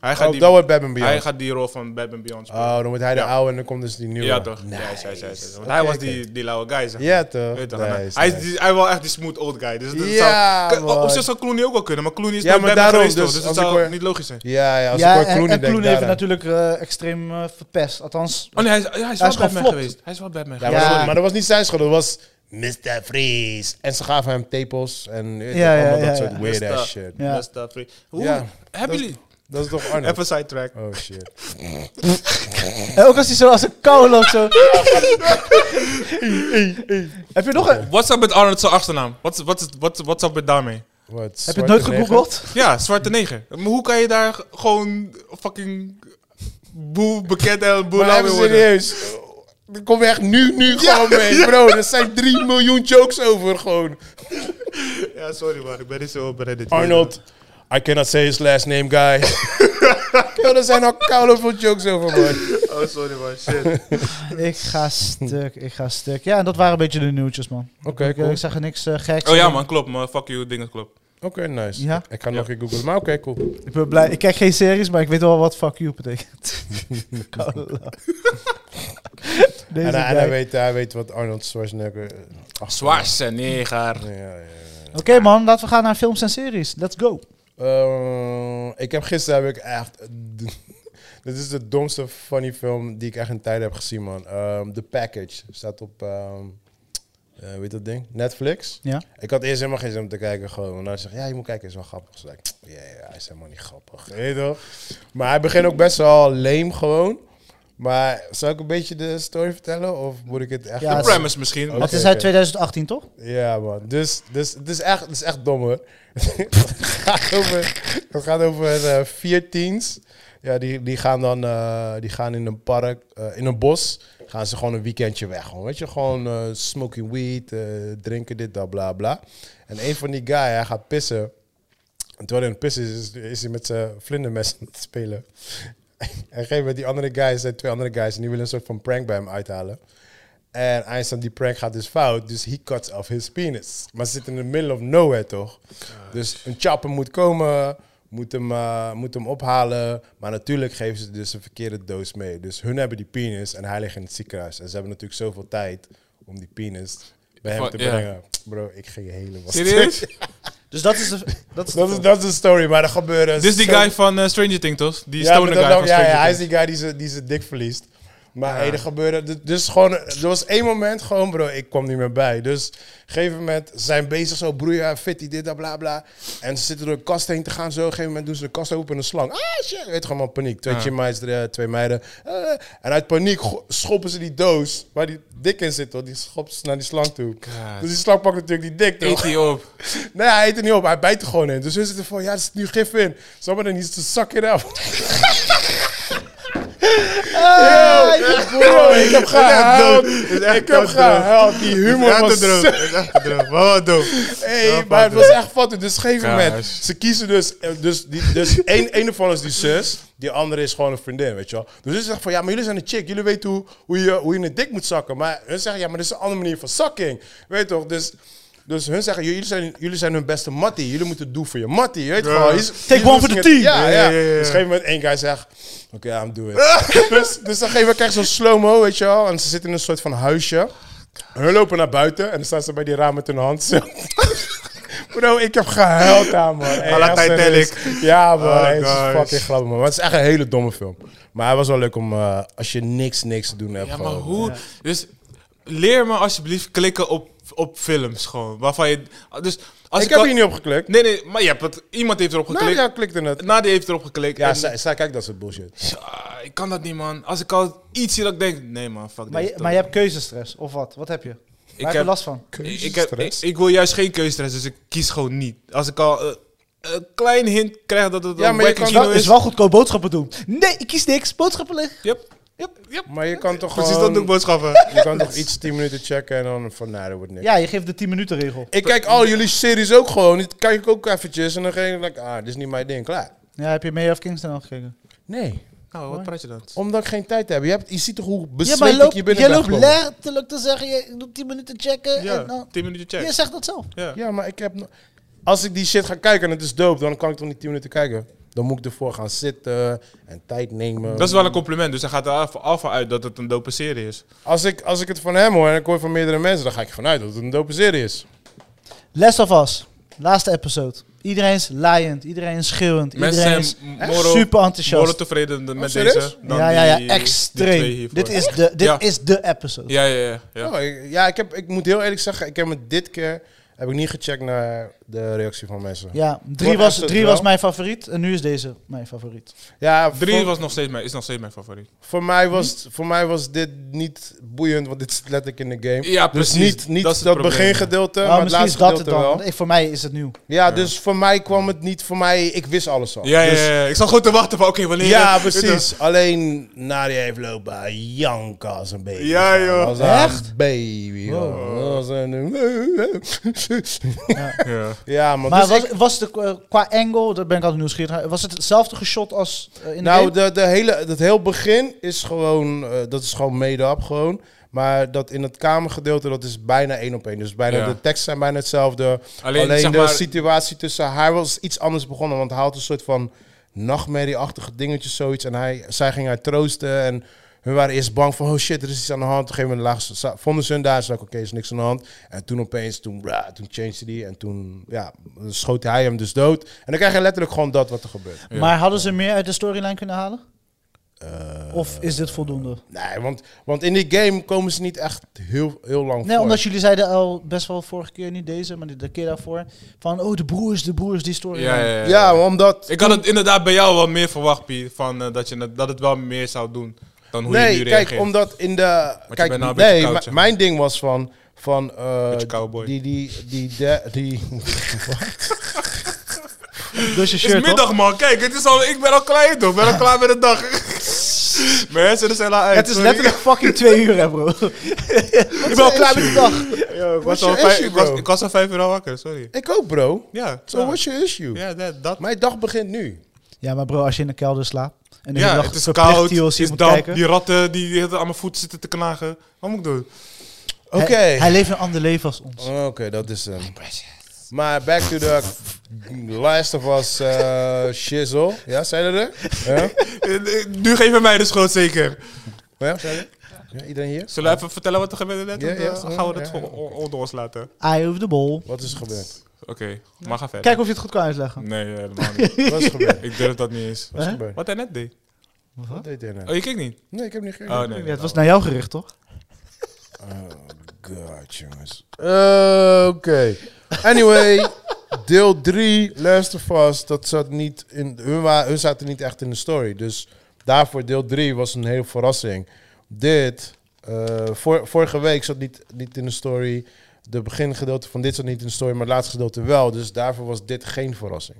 Speaker 1: Hij gaat,
Speaker 3: Oh,
Speaker 1: die,
Speaker 3: dat wordt Bab and Beyond.
Speaker 1: hij gaat die rol van Bad and Beyond spelen.
Speaker 3: Oh, dan wordt hij de
Speaker 1: Ja.
Speaker 3: oude en dan komt dus die nieuwe.
Speaker 1: ja, toch? Ja,
Speaker 3: Nice.
Speaker 1: hij zei- zei- zei- Want
Speaker 3: Oké,
Speaker 1: hij was
Speaker 3: oké.
Speaker 1: die, die lauwe guy, zeg maar.
Speaker 3: Ja, toch?
Speaker 1: Weet je toch? En,
Speaker 3: Nice,
Speaker 1: uh, hij, is
Speaker 3: nice.
Speaker 1: die, hij was echt die smooth old guy. Dus dat
Speaker 3: Ja,
Speaker 1: zou, K- op
Speaker 3: man.
Speaker 1: zich zou Clooney ook wel kunnen, maar Clooney is
Speaker 3: Ja,
Speaker 1: nooit
Speaker 3: maar
Speaker 1: Batman
Speaker 3: daarom,
Speaker 1: geweest, toch?
Speaker 3: dus
Speaker 1: Dus dat
Speaker 3: als ik
Speaker 1: zou
Speaker 3: hoor-
Speaker 1: niet logisch zijn.
Speaker 3: Ja, ja, als
Speaker 2: ja, en,
Speaker 3: ik hoor
Speaker 2: en
Speaker 3: Clooney denk
Speaker 2: Clooney heeft
Speaker 3: daaraan.
Speaker 2: het natuurlijk eh, extreem eh, verpest. Althans,
Speaker 1: Oh nee, hij is, ja, hij is
Speaker 2: Hij
Speaker 1: wel
Speaker 2: is
Speaker 1: Batman
Speaker 2: geflopt.
Speaker 1: geweest. Hij is wel Batman
Speaker 3: Ja,
Speaker 1: geweest.
Speaker 3: maar,
Speaker 2: Ja.
Speaker 3: Dat, maar dat was niet zijn schuld, dat was Mr. Freeze. En ze gaven hem tepels en weet je,
Speaker 2: Ja, ja,
Speaker 3: allemaal
Speaker 2: ja,
Speaker 3: dat
Speaker 2: ja.
Speaker 3: soort weird
Speaker 1: Mr.
Speaker 3: ass shit.
Speaker 2: Ja.
Speaker 1: Dat is dat, vriend. Hoe,
Speaker 3: Ja,
Speaker 1: hebben
Speaker 3: dat-
Speaker 1: jullie...
Speaker 3: Dat is toch Arnold?
Speaker 1: Even sidetrack.
Speaker 3: Oh shit.
Speaker 2: en eh, ook als hij zo als een kou loopt. Zo. heb je nog een,
Speaker 1: What's up met Arnold zijn achternaam? What's, what's, what's, what's up met daarmee?
Speaker 3: Wat,
Speaker 2: heb je het nooit gegoogeld?
Speaker 1: Ja, Zwarte Neger. Maar hoe kan je daar g- gewoon fucking boel bekend en boel
Speaker 3: Maar
Speaker 1: lauw
Speaker 3: even
Speaker 1: mee worden?
Speaker 3: serieus. Dan kom je echt nu, nu gewoon mee, bro. Er zijn 3 miljoen jokes over gewoon.
Speaker 1: Ja, sorry man, ik ben niet zo op Reddit.
Speaker 3: Arnold, I cannot say his last name, guy. Yo, er zijn al koude veel jokes over, man.
Speaker 1: Oh, sorry man, shit.
Speaker 2: Ik ga stuk, ik ga stuk. Ja, en dat waren een beetje de nieuwtjes, man.
Speaker 3: Oké,
Speaker 2: Ik, eh,
Speaker 3: cool.
Speaker 2: ik zag er niks eh, geks.
Speaker 1: Oh ja man, klopt man. Fuck you, dingen klopt.
Speaker 3: Oké, nice.
Speaker 2: Ja?
Speaker 3: Ik ga nog een keer googlen, maar oké, cool.
Speaker 2: Ik ben blij. Ik kijk geen series, maar ik weet wel wat fuck you betekent. Koude lul. Deze
Speaker 3: En, hij- en hij,
Speaker 2: guy.
Speaker 3: weet, hij weet wat Arnold Schwarzenegger... eh, ach,
Speaker 1: Zwarte Neger.
Speaker 3: Ja, ja, ja.
Speaker 2: Oké man, laten we gaan naar films en series. Let's go.
Speaker 3: Eh, ik heb gisteren heb ik echt. Dit is de domste funny film die ik echt in tijden heb gezien, man. Ehm The Package staat op. ehm eh, weet dat ding? Netflix.
Speaker 2: Ja.
Speaker 3: Ik had eerst helemaal geen zin om te kijken, gewoon. Want hij zegt, ja, je moet kijken, is wel grappig. Dus ik, ja, ja, hij is helemaal niet grappig. Weet je toch? Maar hij begint ook best wel lame, gewoon. Maar zou ik een beetje de story vertellen? Of moet ik het echt...
Speaker 2: Ja,
Speaker 1: De
Speaker 2: het is-
Speaker 1: premise misschien.
Speaker 3: Oké,
Speaker 2: het is uit
Speaker 3: oké.
Speaker 2: 2018, toch?
Speaker 3: Ja, man. Dus, dus het, is echt, het is echt dom, hoor. het, gaat over, het gaat over eh, vier teens. Ja, die, die gaan dan eh, die gaan in een park, eh, in een bos, gaan ze gewoon een weekendje weg. Gewoon, weet je, gewoon eh, smoking weed, eh, drinken dit, dat, bla, bla. En een van die guy, hij gaat pissen. En terwijl hij aan het pissen is, is, is hij met zijn vlindermes aan het spelen. en op een gegeven moment, die andere guys, zijn twee andere guys, en die willen een soort van prank bij hem uithalen. En Einstein, die prank gaat dus fout, dus he cuts off his penis. Maar ze zitten in the middle of nowhere, toch? Dus een chopper moet komen, moet hem, eh, moet hem ophalen. Maar natuurlijk geven ze dus een verkeerde doos mee. Dus hun hebben die penis en hij ligt in het ziekenhuis. En ze hebben natuurlijk zoveel tijd om die penis bij hem
Speaker 1: Fuck,
Speaker 3: te
Speaker 1: ja.
Speaker 3: brengen. Bro, ik ging helemaal...
Speaker 1: Serieus?
Speaker 2: Dus dat is de, dat is
Speaker 3: Dat is, dat is de story, maar er gebeuren...
Speaker 1: Dit is die
Speaker 3: zo-
Speaker 1: guy van eh, Stranger Things, toch? Die
Speaker 3: ja,
Speaker 1: stoner guy
Speaker 3: maar dat- dat-
Speaker 1: van
Speaker 3: ja,
Speaker 1: Stranger
Speaker 3: ja, hij is
Speaker 1: Things.
Speaker 3: die guy die zijn die zijn dik verliest. Maar hey, er gebeurde... d- Dus gewoon... Er was één moment gewoon, bro, ik kwam niet meer bij. Dus op een gegeven moment ze zijn bezig zo broeien, fitty, dit, dat, bla, bla. En ze zitten door de kast heen te gaan zo. Op een gegeven moment doen ze de kast open en een slang. Ah, shit. Weet je, gewoon paniek. Twee
Speaker 1: Ja.
Speaker 3: chimai's, eh, twee meiden. Eh, en uit paniek go- schoppen ze die doos waar die dik in zit, hoor. Die schoppen ze naar die slang toe.
Speaker 1: God.
Speaker 3: Dus die slang pakt natuurlijk die dik, toch?
Speaker 1: Eet die op.
Speaker 3: Nee, hij eet er niet op. Hij bijt er gewoon in. Dus hun zitten van, ja, er zit nu gif in. Zal maar dan niet, zak it up.
Speaker 2: Ah, je-
Speaker 3: Bro, ik heb gehuild.
Speaker 1: dood. Het is echt
Speaker 3: Ik heb
Speaker 1: dood, bro.
Speaker 3: gehuild. Die humor was zo...
Speaker 1: Het is echt droog. Wat dope.
Speaker 3: Hey,
Speaker 1: Ja,
Speaker 3: maar het
Speaker 1: fuck,
Speaker 3: was echt fout. Dus op een gegeven moment,
Speaker 1: Kaas.
Speaker 3: ze kiezen dus... eh, Dus, die, dus één, één ervan is die zus, die andere is gewoon een vriendin, weet je wel. Dus ze zeggen van, ja, maar jullie zijn een chick. Jullie weten hoe, hoe, je, hoe je een dik moet zakken. Maar hun zeggen, ja, maar dit is een andere manier van zakking. Weet je toch, dus... Dus hun zeggen, jullie zijn, jullie zijn hun beste mattie. Jullie moeten het doen voor je mattie. Je weet
Speaker 1: Ja.
Speaker 3: gewoon, is-
Speaker 2: Take
Speaker 3: is
Speaker 2: one for the
Speaker 3: het-
Speaker 2: team.
Speaker 1: Ja,
Speaker 3: Ja, ja.
Speaker 1: ja, ja, ja.
Speaker 3: Dus op een gegeven moment één guy zegt, oké, I'm doing it. dus, dus dan geven we krijg je zo'n slow-mo, weet je wel. En ze zitten in een soort van huisje. En hun lopen naar buiten en dan staan ze bij die raam met hun hand zo. Bro, ik heb gehuild aan, man. Hey,
Speaker 1: la
Speaker 3: echt serieus.
Speaker 1: Titanic.
Speaker 3: Ja, man.
Speaker 1: Oh,
Speaker 3: hey, het is
Speaker 1: guys.
Speaker 3: fucking grappig, man. Maar het is echt een hele domme film. Maar hij was wel leuk om, eh, als je niks, niks te doen hebt.
Speaker 1: Ja, maar
Speaker 3: gewoon.
Speaker 1: hoe... Dus leer me alsjeblieft klikken op, op films gewoon. Waarvan je... Dus als
Speaker 3: Ik heb
Speaker 1: al-
Speaker 3: hier niet op geklikt.
Speaker 1: Nee, nee, maar je hebt het, iemand heeft erop
Speaker 3: Nou
Speaker 1: geklikt.
Speaker 3: ja, klikte het.
Speaker 1: Nadia heeft erop geklikt.
Speaker 3: Ja,
Speaker 1: en-
Speaker 3: zij, zij kijkt dat soort bullshit.
Speaker 1: Ah, ik kan dat niet, man. Als ik al iets zie dat ik denk... Nee, man, fuck
Speaker 2: maar, je,
Speaker 1: dit.
Speaker 2: maar je hebt keuzestress, of wat? Wat heb je?
Speaker 1: Dus
Speaker 2: Waar
Speaker 1: Ik
Speaker 2: heb je
Speaker 1: heb-
Speaker 2: last van?
Speaker 1: Ik, ik, heb, ik,
Speaker 3: Keuzestress.
Speaker 1: ik wil juist geen keuzestress, dus ik kies gewoon niet. Als ik al eh, een klein hint krijg dat het
Speaker 3: Ja,
Speaker 1: een
Speaker 3: maar je
Speaker 1: wacky
Speaker 3: kan-
Speaker 1: kino
Speaker 2: Dat is wel goedkoop boodschappen doen. Nee, ik kies niks. Boodschappen liggen.
Speaker 1: Yep, yep, yep.
Speaker 3: Maar je kan toch
Speaker 1: Precies dat
Speaker 3: gewoon...
Speaker 1: doe ik boodschappen.
Speaker 3: je kan toch iets 10 minuten checken en dan van, nou, dat wordt niks.
Speaker 2: Ja, je geeft de 10 minuten regel.
Speaker 3: Ik kijk al jullie series ook gewoon. Dit kijk ik ook eventjes en dan ging ik, like, ah, dit is niet mijn ding, klaar.
Speaker 2: Ja, heb je May of Kingston al gekeken?
Speaker 1: Dus
Speaker 3: Nee,
Speaker 1: nou, wat praat je dan?
Speaker 3: omdat ik geen tijd heb. Je, hebt, je ziet toch hoe
Speaker 2: Ja,
Speaker 3: besmet
Speaker 2: maar je
Speaker 3: ik
Speaker 2: loopt,
Speaker 3: je
Speaker 2: je
Speaker 3: binnen ben
Speaker 2: loopt
Speaker 3: gekomen?
Speaker 2: letterlijk te zeggen, je doet 10 minuten checken.
Speaker 1: Ja,
Speaker 2: en dan,
Speaker 1: 10 minuten
Speaker 2: je
Speaker 1: check.
Speaker 2: zegt dat zelf.
Speaker 1: Ja.
Speaker 3: Ja, maar ik heb... no- Als ik die shit ga kijken en het is dope, dan kan ik toch niet 10 minuten kijken? Dan moet ik ervoor gaan zitten en tijd nemen.
Speaker 1: Dat is wel een compliment, dus hij gaat er af- af van uit dat het een dope serie is.
Speaker 3: Als ik, als ik het van hem hoor en ik hoor van meerdere mensen, dan ga ik ervan uit dat het een dope serie is.
Speaker 2: Last of Us. Laatste episode. Iedereen is laaiend. Iedereen is schreeuwend.
Speaker 1: Mensen
Speaker 2: Iedereen is
Speaker 1: zijn moro,
Speaker 2: super
Speaker 1: moro
Speaker 2: enthousiast.
Speaker 1: tevreden met
Speaker 3: serieus?
Speaker 1: deze. dan
Speaker 2: Ja, ja, ja.
Speaker 1: die- die twee
Speaker 2: Extreem.
Speaker 1: hiervoor.
Speaker 2: Dit is de, dit
Speaker 1: Ja.
Speaker 2: is de episode.
Speaker 1: Ja, ja, ja. ja.
Speaker 3: Oh, ik- ja, ik, heb, ik moet heel eerlijk zeggen, ik heb me dit keer heb ik niet gecheckt naar de reactie van mensen.
Speaker 2: Ja, drie,
Speaker 3: Voor
Speaker 2: was,
Speaker 3: episode
Speaker 2: drie
Speaker 3: wel.
Speaker 2: was mijn favoriet en nu is deze mijn favoriet.
Speaker 3: Ja,
Speaker 1: Drie
Speaker 3: voor,
Speaker 1: was nog steeds mijn, is nog steeds mijn favoriet.
Speaker 3: voor, mij was, het- voor mij was dit niet boeiend, want dit is letterlijk in de game.
Speaker 1: Ja,
Speaker 3: Dus
Speaker 1: precies.
Speaker 3: niet,
Speaker 1: dat
Speaker 3: niet dat,
Speaker 1: is het probleem.
Speaker 3: begingedeelte,
Speaker 2: Oh,
Speaker 3: maar het
Speaker 2: misschien is dat
Speaker 3: laatste
Speaker 2: het
Speaker 3: gedeelte
Speaker 2: dan.
Speaker 3: wel.
Speaker 2: Ik- voor mij is het nieuw.
Speaker 3: Ja, dus voor mij kwam het niet. Voor mij, ik wist alles al.
Speaker 1: Ja, ja,
Speaker 3: Dus-
Speaker 1: ja, ja. Ik zat gewoon te wachten van, oké, wanneer...
Speaker 3: ja, precies. Alleen Nadia heeft lopen janken als een baby.
Speaker 1: Ja, joh.
Speaker 3: Als een
Speaker 2: Echt?
Speaker 3: baby.
Speaker 2: Wow.
Speaker 3: joh. Als een...
Speaker 1: Ja.
Speaker 3: ja, maar,
Speaker 2: Maar
Speaker 3: dus
Speaker 2: was,
Speaker 3: ik-
Speaker 2: was het eh, qua angle, daar ben ik altijd nieuwsgierig naar, was het hetzelfde geshot als eh, in de
Speaker 3: nou,
Speaker 2: nou,
Speaker 3: de, de hele, het heel begin is gewoon, eh, dat is gewoon made-up gewoon. Maar dat in het kamergedeelte, dat is bijna één op één. Dus bijna,
Speaker 1: Ja.
Speaker 3: de teksten zijn bijna hetzelfde.
Speaker 1: Alleen,
Speaker 3: Alleen,
Speaker 1: zeg
Speaker 3: de
Speaker 1: maar-
Speaker 3: situatie tussen haar was iets anders begonnen. Want hij had een soort van nachtmerrieachtige dingetjes, zoiets. En hij, zij ging haar troosten. En hun waren eerst bang van, oh shit, er is iets aan de hand. Op een gegeven moment lagen ze- vonden ze hun daar. Ze dachten, oké, er is niks aan de hand. En toen opeens, toen, bra, toen changed die. En toen ja, schoot hij hem dus dood. En dan krijg je letterlijk gewoon dat wat er gebeurt.
Speaker 1: Ja.
Speaker 2: Maar hadden ze meer uit de storyline kunnen halen?
Speaker 3: Eh,
Speaker 2: Of is dit voldoende?
Speaker 3: Nee, want, want in die game komen ze niet echt heel, heel lang
Speaker 2: Nee,
Speaker 3: voor.
Speaker 2: omdat jullie zeiden al best wel vorige keer, niet deze, maar de keer daarvoor, van oh, de broers, de broers, die storyline.
Speaker 1: Ja, ja, ja.
Speaker 3: Ja, omdat...
Speaker 1: Eh, Ik had het inderdaad bij jou wel meer verwacht, Piet, van, eh, dat, je, het- dat het wel meer zou doen dan hoe je
Speaker 3: nee,
Speaker 1: nu
Speaker 3: kijk,
Speaker 1: reageert.
Speaker 3: omdat in de...
Speaker 1: je
Speaker 3: kijk,
Speaker 1: bent nou een beetje
Speaker 3: nee,
Speaker 1: koud,
Speaker 3: m-
Speaker 1: zeg maar.
Speaker 3: mijn ding was van... van eh,
Speaker 1: Beetje cowboy.
Speaker 3: Die, die, die, de- die,
Speaker 2: Dus je
Speaker 1: Het is
Speaker 2: shirt,
Speaker 1: middag,
Speaker 2: toch?
Speaker 1: man. Kijk, het is al, ik ben al klaar, toch? Ik ben al klaar met de dag. Mensen, er zijn al uit.
Speaker 2: Het is
Speaker 1: sorry.
Speaker 2: letterlijk fucking twee uur, hè, bro.
Speaker 1: Ik ben al klaar met
Speaker 2: de dag.
Speaker 1: Ja, ik, was
Speaker 3: What's
Speaker 1: al
Speaker 3: your
Speaker 1: vijf,
Speaker 3: issue,
Speaker 1: ik, was,
Speaker 3: bro?
Speaker 1: ik was al vijf uur al wakker, sorry.
Speaker 3: ik ook, bro.
Speaker 1: Ja,
Speaker 3: So
Speaker 1: ja.
Speaker 3: what's your issue?
Speaker 1: Ja, dat. dat.
Speaker 3: Mijn dag begint nu.
Speaker 2: Ja, maar bro, als je in de kelder slaapt en de hele
Speaker 1: Ja,
Speaker 2: dag
Speaker 1: het is
Speaker 2: verplicht
Speaker 1: koud,
Speaker 2: TLC
Speaker 1: het is
Speaker 2: moet
Speaker 1: damp.
Speaker 2: kijken.
Speaker 1: Die ratten die, die aan mijn voeten zitten te knagen. Wat moet ik doen?
Speaker 3: Oké. Oh,
Speaker 2: Hij, hij leeft een ander leven als
Speaker 1: Oh.
Speaker 2: ons.
Speaker 3: Oké, dat is hem. Maar back to the last of us eh, shizzle. Ja, zijn er? Ja?
Speaker 1: Eh, eh, Nu geven mij de schuld zeker.
Speaker 3: Ja, zijn er? Ja, iedereen hier?
Speaker 1: Zullen we even vertellen wat er gebeurde net?
Speaker 3: Ja,
Speaker 1: Dan, eh,
Speaker 3: ja,
Speaker 1: gaan we het
Speaker 3: ja,
Speaker 1: voor-
Speaker 3: ja.
Speaker 1: on- onder ons laten.
Speaker 2: Eye of the ball.
Speaker 3: Wat is er gebeurd?
Speaker 1: Oké, maar ga verder.
Speaker 2: Kijk of je het goed kan uitleggen.
Speaker 1: Nee, eh, helemaal niet.
Speaker 3: Wat is er gebeurd?
Speaker 1: ik durf dat niet eens.
Speaker 3: Wat is er
Speaker 2: Hè?
Speaker 3: gebeurd?
Speaker 1: Wat hij net deed.
Speaker 3: Wat deed hij nou?
Speaker 1: Oh, je kijkt niet?
Speaker 3: Nee, ik heb niet gekeken.
Speaker 1: Oh, nee.
Speaker 2: Ja, het was
Speaker 1: nou.
Speaker 2: naar jou gericht, toch?
Speaker 3: Oh god, jongens. Eh, Oké. Anyway, deel 3, Last of Us, dat zat niet in... Hun, wa- hun zaten niet echt in de story. Dus daarvoor deel 3 was een hele verrassing. Dit, eh, vor- vorige week zat niet, niet in de story. De begingedeelte van dit zat niet in de story, maar het laatste gedeelte wel. Dus daarvoor was dit geen verrassing.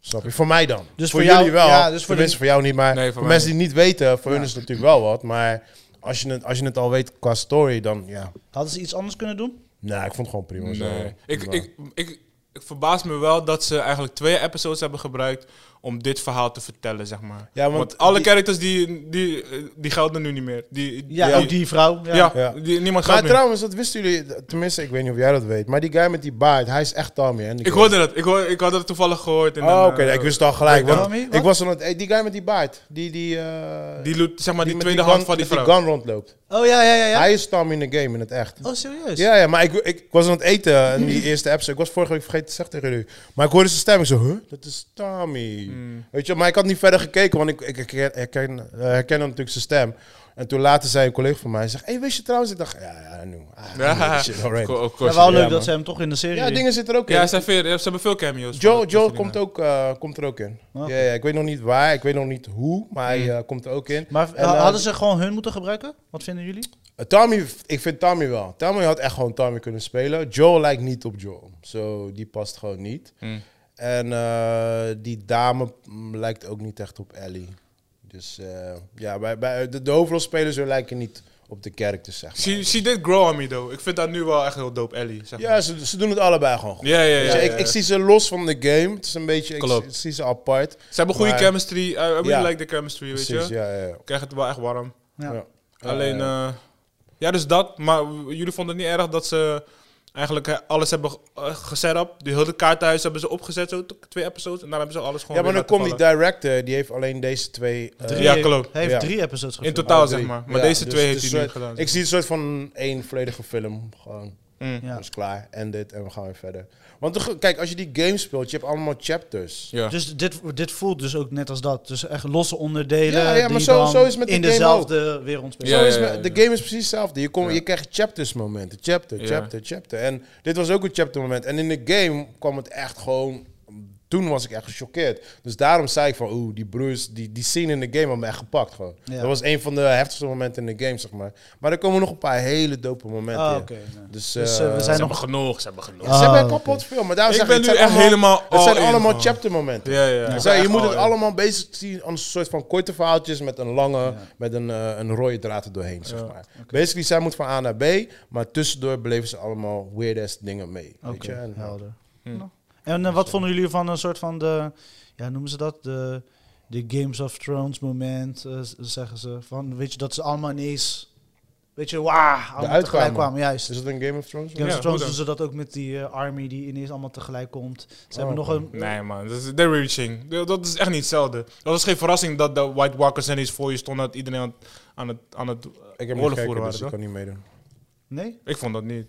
Speaker 3: Snap je? Voor mij dan.
Speaker 2: Dus
Speaker 3: voor,
Speaker 2: voor jou-
Speaker 3: jullie wel.
Speaker 2: ja, dus
Speaker 3: dus
Speaker 2: voor
Speaker 3: voor
Speaker 2: de-
Speaker 3: mensen, voor jou niet. Maar
Speaker 1: Nee, voor
Speaker 3: voor,
Speaker 1: mij
Speaker 3: mensen die niet weten, voor hun is het natuurlijk wel wat. Maar als je het, als je het al weet qua story, dan ja...
Speaker 2: Hadden ze iets anders kunnen doen?
Speaker 3: Nou, ik vond het gewoon prima.
Speaker 1: Nee.
Speaker 3: Zo.
Speaker 1: Ik,
Speaker 3: Maar-
Speaker 1: ik, ik, ik verbaas me wel dat ze eigenlijk twee episodes hebben gebruikt om dit verhaal te vertellen, zeg maar.
Speaker 3: Ja, want
Speaker 1: want, alle
Speaker 3: die-
Speaker 1: characters die, die, eh, die gelden nu niet meer. Die,
Speaker 2: Ja,
Speaker 1: die,
Speaker 2: ook die vrouw.
Speaker 1: ja,
Speaker 2: Ja. ja.
Speaker 3: Ja.
Speaker 1: die- niemand
Speaker 3: maar
Speaker 1: geldt meer.
Speaker 3: trouwens, dat wisten jullie, tenminste, ik weet niet of jij dat weet, maar die guy met die baard, hij is echt Tommy. Hè?
Speaker 1: Ik hoorde dat. Ik, hoor, ik had het toevallig gehoord. In
Speaker 3: Oh,
Speaker 1: een,
Speaker 3: oké,
Speaker 1: eh,
Speaker 3: ik wist het al gelijk.
Speaker 2: Wait,
Speaker 3: want
Speaker 2: Tommy, wat?
Speaker 3: ik was aan het, eh, die guy met die baard, die, die, eh,
Speaker 1: Die, loot- zeg maar, die,
Speaker 3: met
Speaker 1: tweede
Speaker 3: gun-
Speaker 1: hand van die
Speaker 3: met
Speaker 1: vrouw.
Speaker 3: die gun rondloopt.
Speaker 2: Oh ja, ja, ja. ja.
Speaker 3: Hij is Tommy in de game, in het echt.
Speaker 2: Oh, serieus?
Speaker 1: Dus-
Speaker 3: Ja, ja, maar ik, ik, ik was aan het eten in die eerste episode. Ik was vorige week vergeten te zeggen tegen jullie. Maar ik hoorde zijn stem. Ik zo, huh? Dat is Tommy.
Speaker 1: Hmm.
Speaker 3: Weet je, maar ik had niet verder gekeken, want ik, ik herken, herken, eh, herken hem natuurlijk zijn stem. En toen later zei een collega van mij, hij zegt, hey, wist je trouwens? Ik dacht, ja, ja, nu. Ah,
Speaker 1: Ja,
Speaker 3: shit, alright."
Speaker 1: of course.
Speaker 2: Ja, wel leuk
Speaker 3: Ja, man.
Speaker 2: dat ze hem toch in de serie...
Speaker 3: Ja, dingen zitten er ook in.
Speaker 1: Ja, ze, hebben veel- ze hebben veel cameo's.
Speaker 3: Joe,
Speaker 1: Voor-
Speaker 3: Joe
Speaker 1: voor-
Speaker 3: komt, ook, eh, komt er ook in.
Speaker 2: Oké.
Speaker 3: Ja, ja, ik weet nog niet waar, ik weet nog niet hoe, maar hij
Speaker 1: Hmm.
Speaker 3: eh, komt er ook in.
Speaker 2: Maar
Speaker 3: En,
Speaker 2: eh,
Speaker 3: eh,
Speaker 2: hadden ze gewoon hun moeten gebruiken? Wat vinden jullie?
Speaker 3: Eh, Tommy, ik vind Tommy wel. Tommy had echt gewoon Tommy kunnen spelen. Joel lijkt niet op Joel. Zo, die past gewoon niet.
Speaker 1: Hmm.
Speaker 3: En eh, die dame mm, lijkt ook niet echt op Ellie. Dus eh, ja, bij, bij de, de hoofdrolspelers zo lijken niet op de characters, zeg maar.
Speaker 1: She, she did grow on me, though. Ik vind dat nu wel echt heel dope, Ellie. Zeg maar.
Speaker 3: Ja, ze, ze doen het allebei gewoon goed.
Speaker 1: Ja, ja, ja.
Speaker 3: Weet je,
Speaker 1: ja,
Speaker 3: Ik,
Speaker 1: ja.
Speaker 3: ik zie ze los van de game. Het is een beetje, ik,
Speaker 1: Klopt.
Speaker 3: zie- zie ze apart.
Speaker 1: Ze hebben goede
Speaker 3: Maar-
Speaker 1: chemistry. I I really
Speaker 3: Ja.
Speaker 1: like the chemistry, weet
Speaker 3: Precies,
Speaker 1: je.
Speaker 3: ja, ja, ja.
Speaker 1: Ik krijg het wel echt warm.
Speaker 2: Ja.
Speaker 3: Ja.
Speaker 1: Alleen,
Speaker 3: Eh,
Speaker 1: eh, ja, dus dat. Maar w- jullie vonden het niet erg dat ze eigenlijk eh, alles hebben ge- eh, geset up. Die hele kaartenhuis hebben ze opgezet, zo t- twee episodes. En daar hebben ze alles gewoon
Speaker 3: Ja, maar
Speaker 1: weer
Speaker 3: dan komt die
Speaker 1: laten
Speaker 3: director, die heeft alleen deze twee... eh,
Speaker 1: Drie. Ja, klopt.
Speaker 2: Hij heeft
Speaker 3: Ja.
Speaker 2: drie episodes
Speaker 1: vallen. In
Speaker 2: gefilmd.
Speaker 1: totaal,
Speaker 3: alle
Speaker 1: zeg
Speaker 3: drie.
Speaker 1: maar. Maar
Speaker 3: Ja,
Speaker 1: deze
Speaker 3: dus
Speaker 1: twee
Speaker 3: het
Speaker 1: heeft
Speaker 3: is
Speaker 1: hij nu
Speaker 3: soort-
Speaker 1: gedaan.
Speaker 3: Ik zie een soort van één volledige film. Gewoon,
Speaker 1: Mm.
Speaker 2: Ja.
Speaker 3: dat is klaar. End dit en we gaan weer verder. Want de ge- kijk, als je die game speelt, je hebt allemaal chapters.
Speaker 1: Ja.
Speaker 2: Dus dit, dit voelt dus ook net als dat. Dus echt losse onderdelen
Speaker 3: Ja, ja, maar
Speaker 2: die
Speaker 3: zo-
Speaker 2: dan
Speaker 3: zo is het met die
Speaker 2: in
Speaker 3: game
Speaker 2: dezelfde wereld spelen.
Speaker 1: Ja,
Speaker 3: Zo
Speaker 1: ja,
Speaker 3: is
Speaker 1: ja,
Speaker 3: me-
Speaker 1: ja.
Speaker 3: De game is precies hetzelfde. Je, komt
Speaker 1: Ja.
Speaker 3: je krijgt chapters momenten. Chapter,
Speaker 1: Ja.
Speaker 3: chapter, chapter. En dit was ook een chapter moment. En in de game kwam het echt gewoon... Toen was ik echt gechoqueerd. Dus daarom zei ik van... Oeh, die broers, die, die scene in de game had me echt gepakt gewoon.
Speaker 2: Ja.
Speaker 3: Dat was een van de heftigste momenten in de game, zeg maar. Maar er komen nog een paar hele dope momenten
Speaker 2: Ah,
Speaker 3: in.
Speaker 2: oké, nee.
Speaker 3: Dus,
Speaker 2: Dus,
Speaker 3: eh,
Speaker 2: eh, we
Speaker 1: Ze
Speaker 2: zijn nog...
Speaker 1: hebben genoeg, ze hebben genoeg.
Speaker 3: ja, ze hebben
Speaker 2: Ah,
Speaker 3: kapot veel. Maar daarom
Speaker 1: Ik
Speaker 3: zeg
Speaker 1: ben
Speaker 3: het
Speaker 1: nu
Speaker 3: zijn
Speaker 1: echt
Speaker 3: allemaal-
Speaker 1: helemaal
Speaker 3: Het zijn
Speaker 1: all in
Speaker 3: allemaal
Speaker 1: gewoon.
Speaker 3: chapter momenten.
Speaker 1: Ja, ja.
Speaker 3: Dus
Speaker 1: ja.
Speaker 3: ja, je moet
Speaker 1: Echt
Speaker 3: het
Speaker 1: al in.
Speaker 3: allemaal bezig zien als een soort van korte verhaaltjes met een lange, met een, eh, een rode draad er doorheen, zeg maar. Basically, zij moet van A naar B, maar tussendoor beleven ze allemaal weird-ass dingen mee. Weet
Speaker 2: Oké,
Speaker 3: je? En, eh,
Speaker 2: helder. Nou. En eh, wat vonden jullie van een soort van de... Ja, noemen ze dat? De, de Games of Thrones moment, eh, z- zeggen ze. Van, weet je, dat ze allemaal ineens... Weet je, wauw, allemaal
Speaker 3: uitkwamen. Dus-
Speaker 2: tegelijk kwamen. Juist.
Speaker 3: is het een Game of Thrones?
Speaker 2: Games
Speaker 1: Ja,
Speaker 2: of Thrones
Speaker 1: hoe
Speaker 2: doen ze dat ook met die eh, army die ineens allemaal tegelijk komt. Ze hebben nog
Speaker 3: Oh, oké.
Speaker 2: een...
Speaker 1: Nee man, dat is, they're reaching. Dat dat is echt niet hetzelfde. Dat was geen verrassing dat de White Walkers ineens voor je stonden... dat iedereen aan, aan het, aan het...
Speaker 3: Ik heb niet
Speaker 1: Oorlog
Speaker 3: gekeken,
Speaker 1: voeren
Speaker 3: dus ik
Speaker 1: waren,
Speaker 3: kan niet meedoen.
Speaker 2: Nee?
Speaker 1: Ik vond dat niet.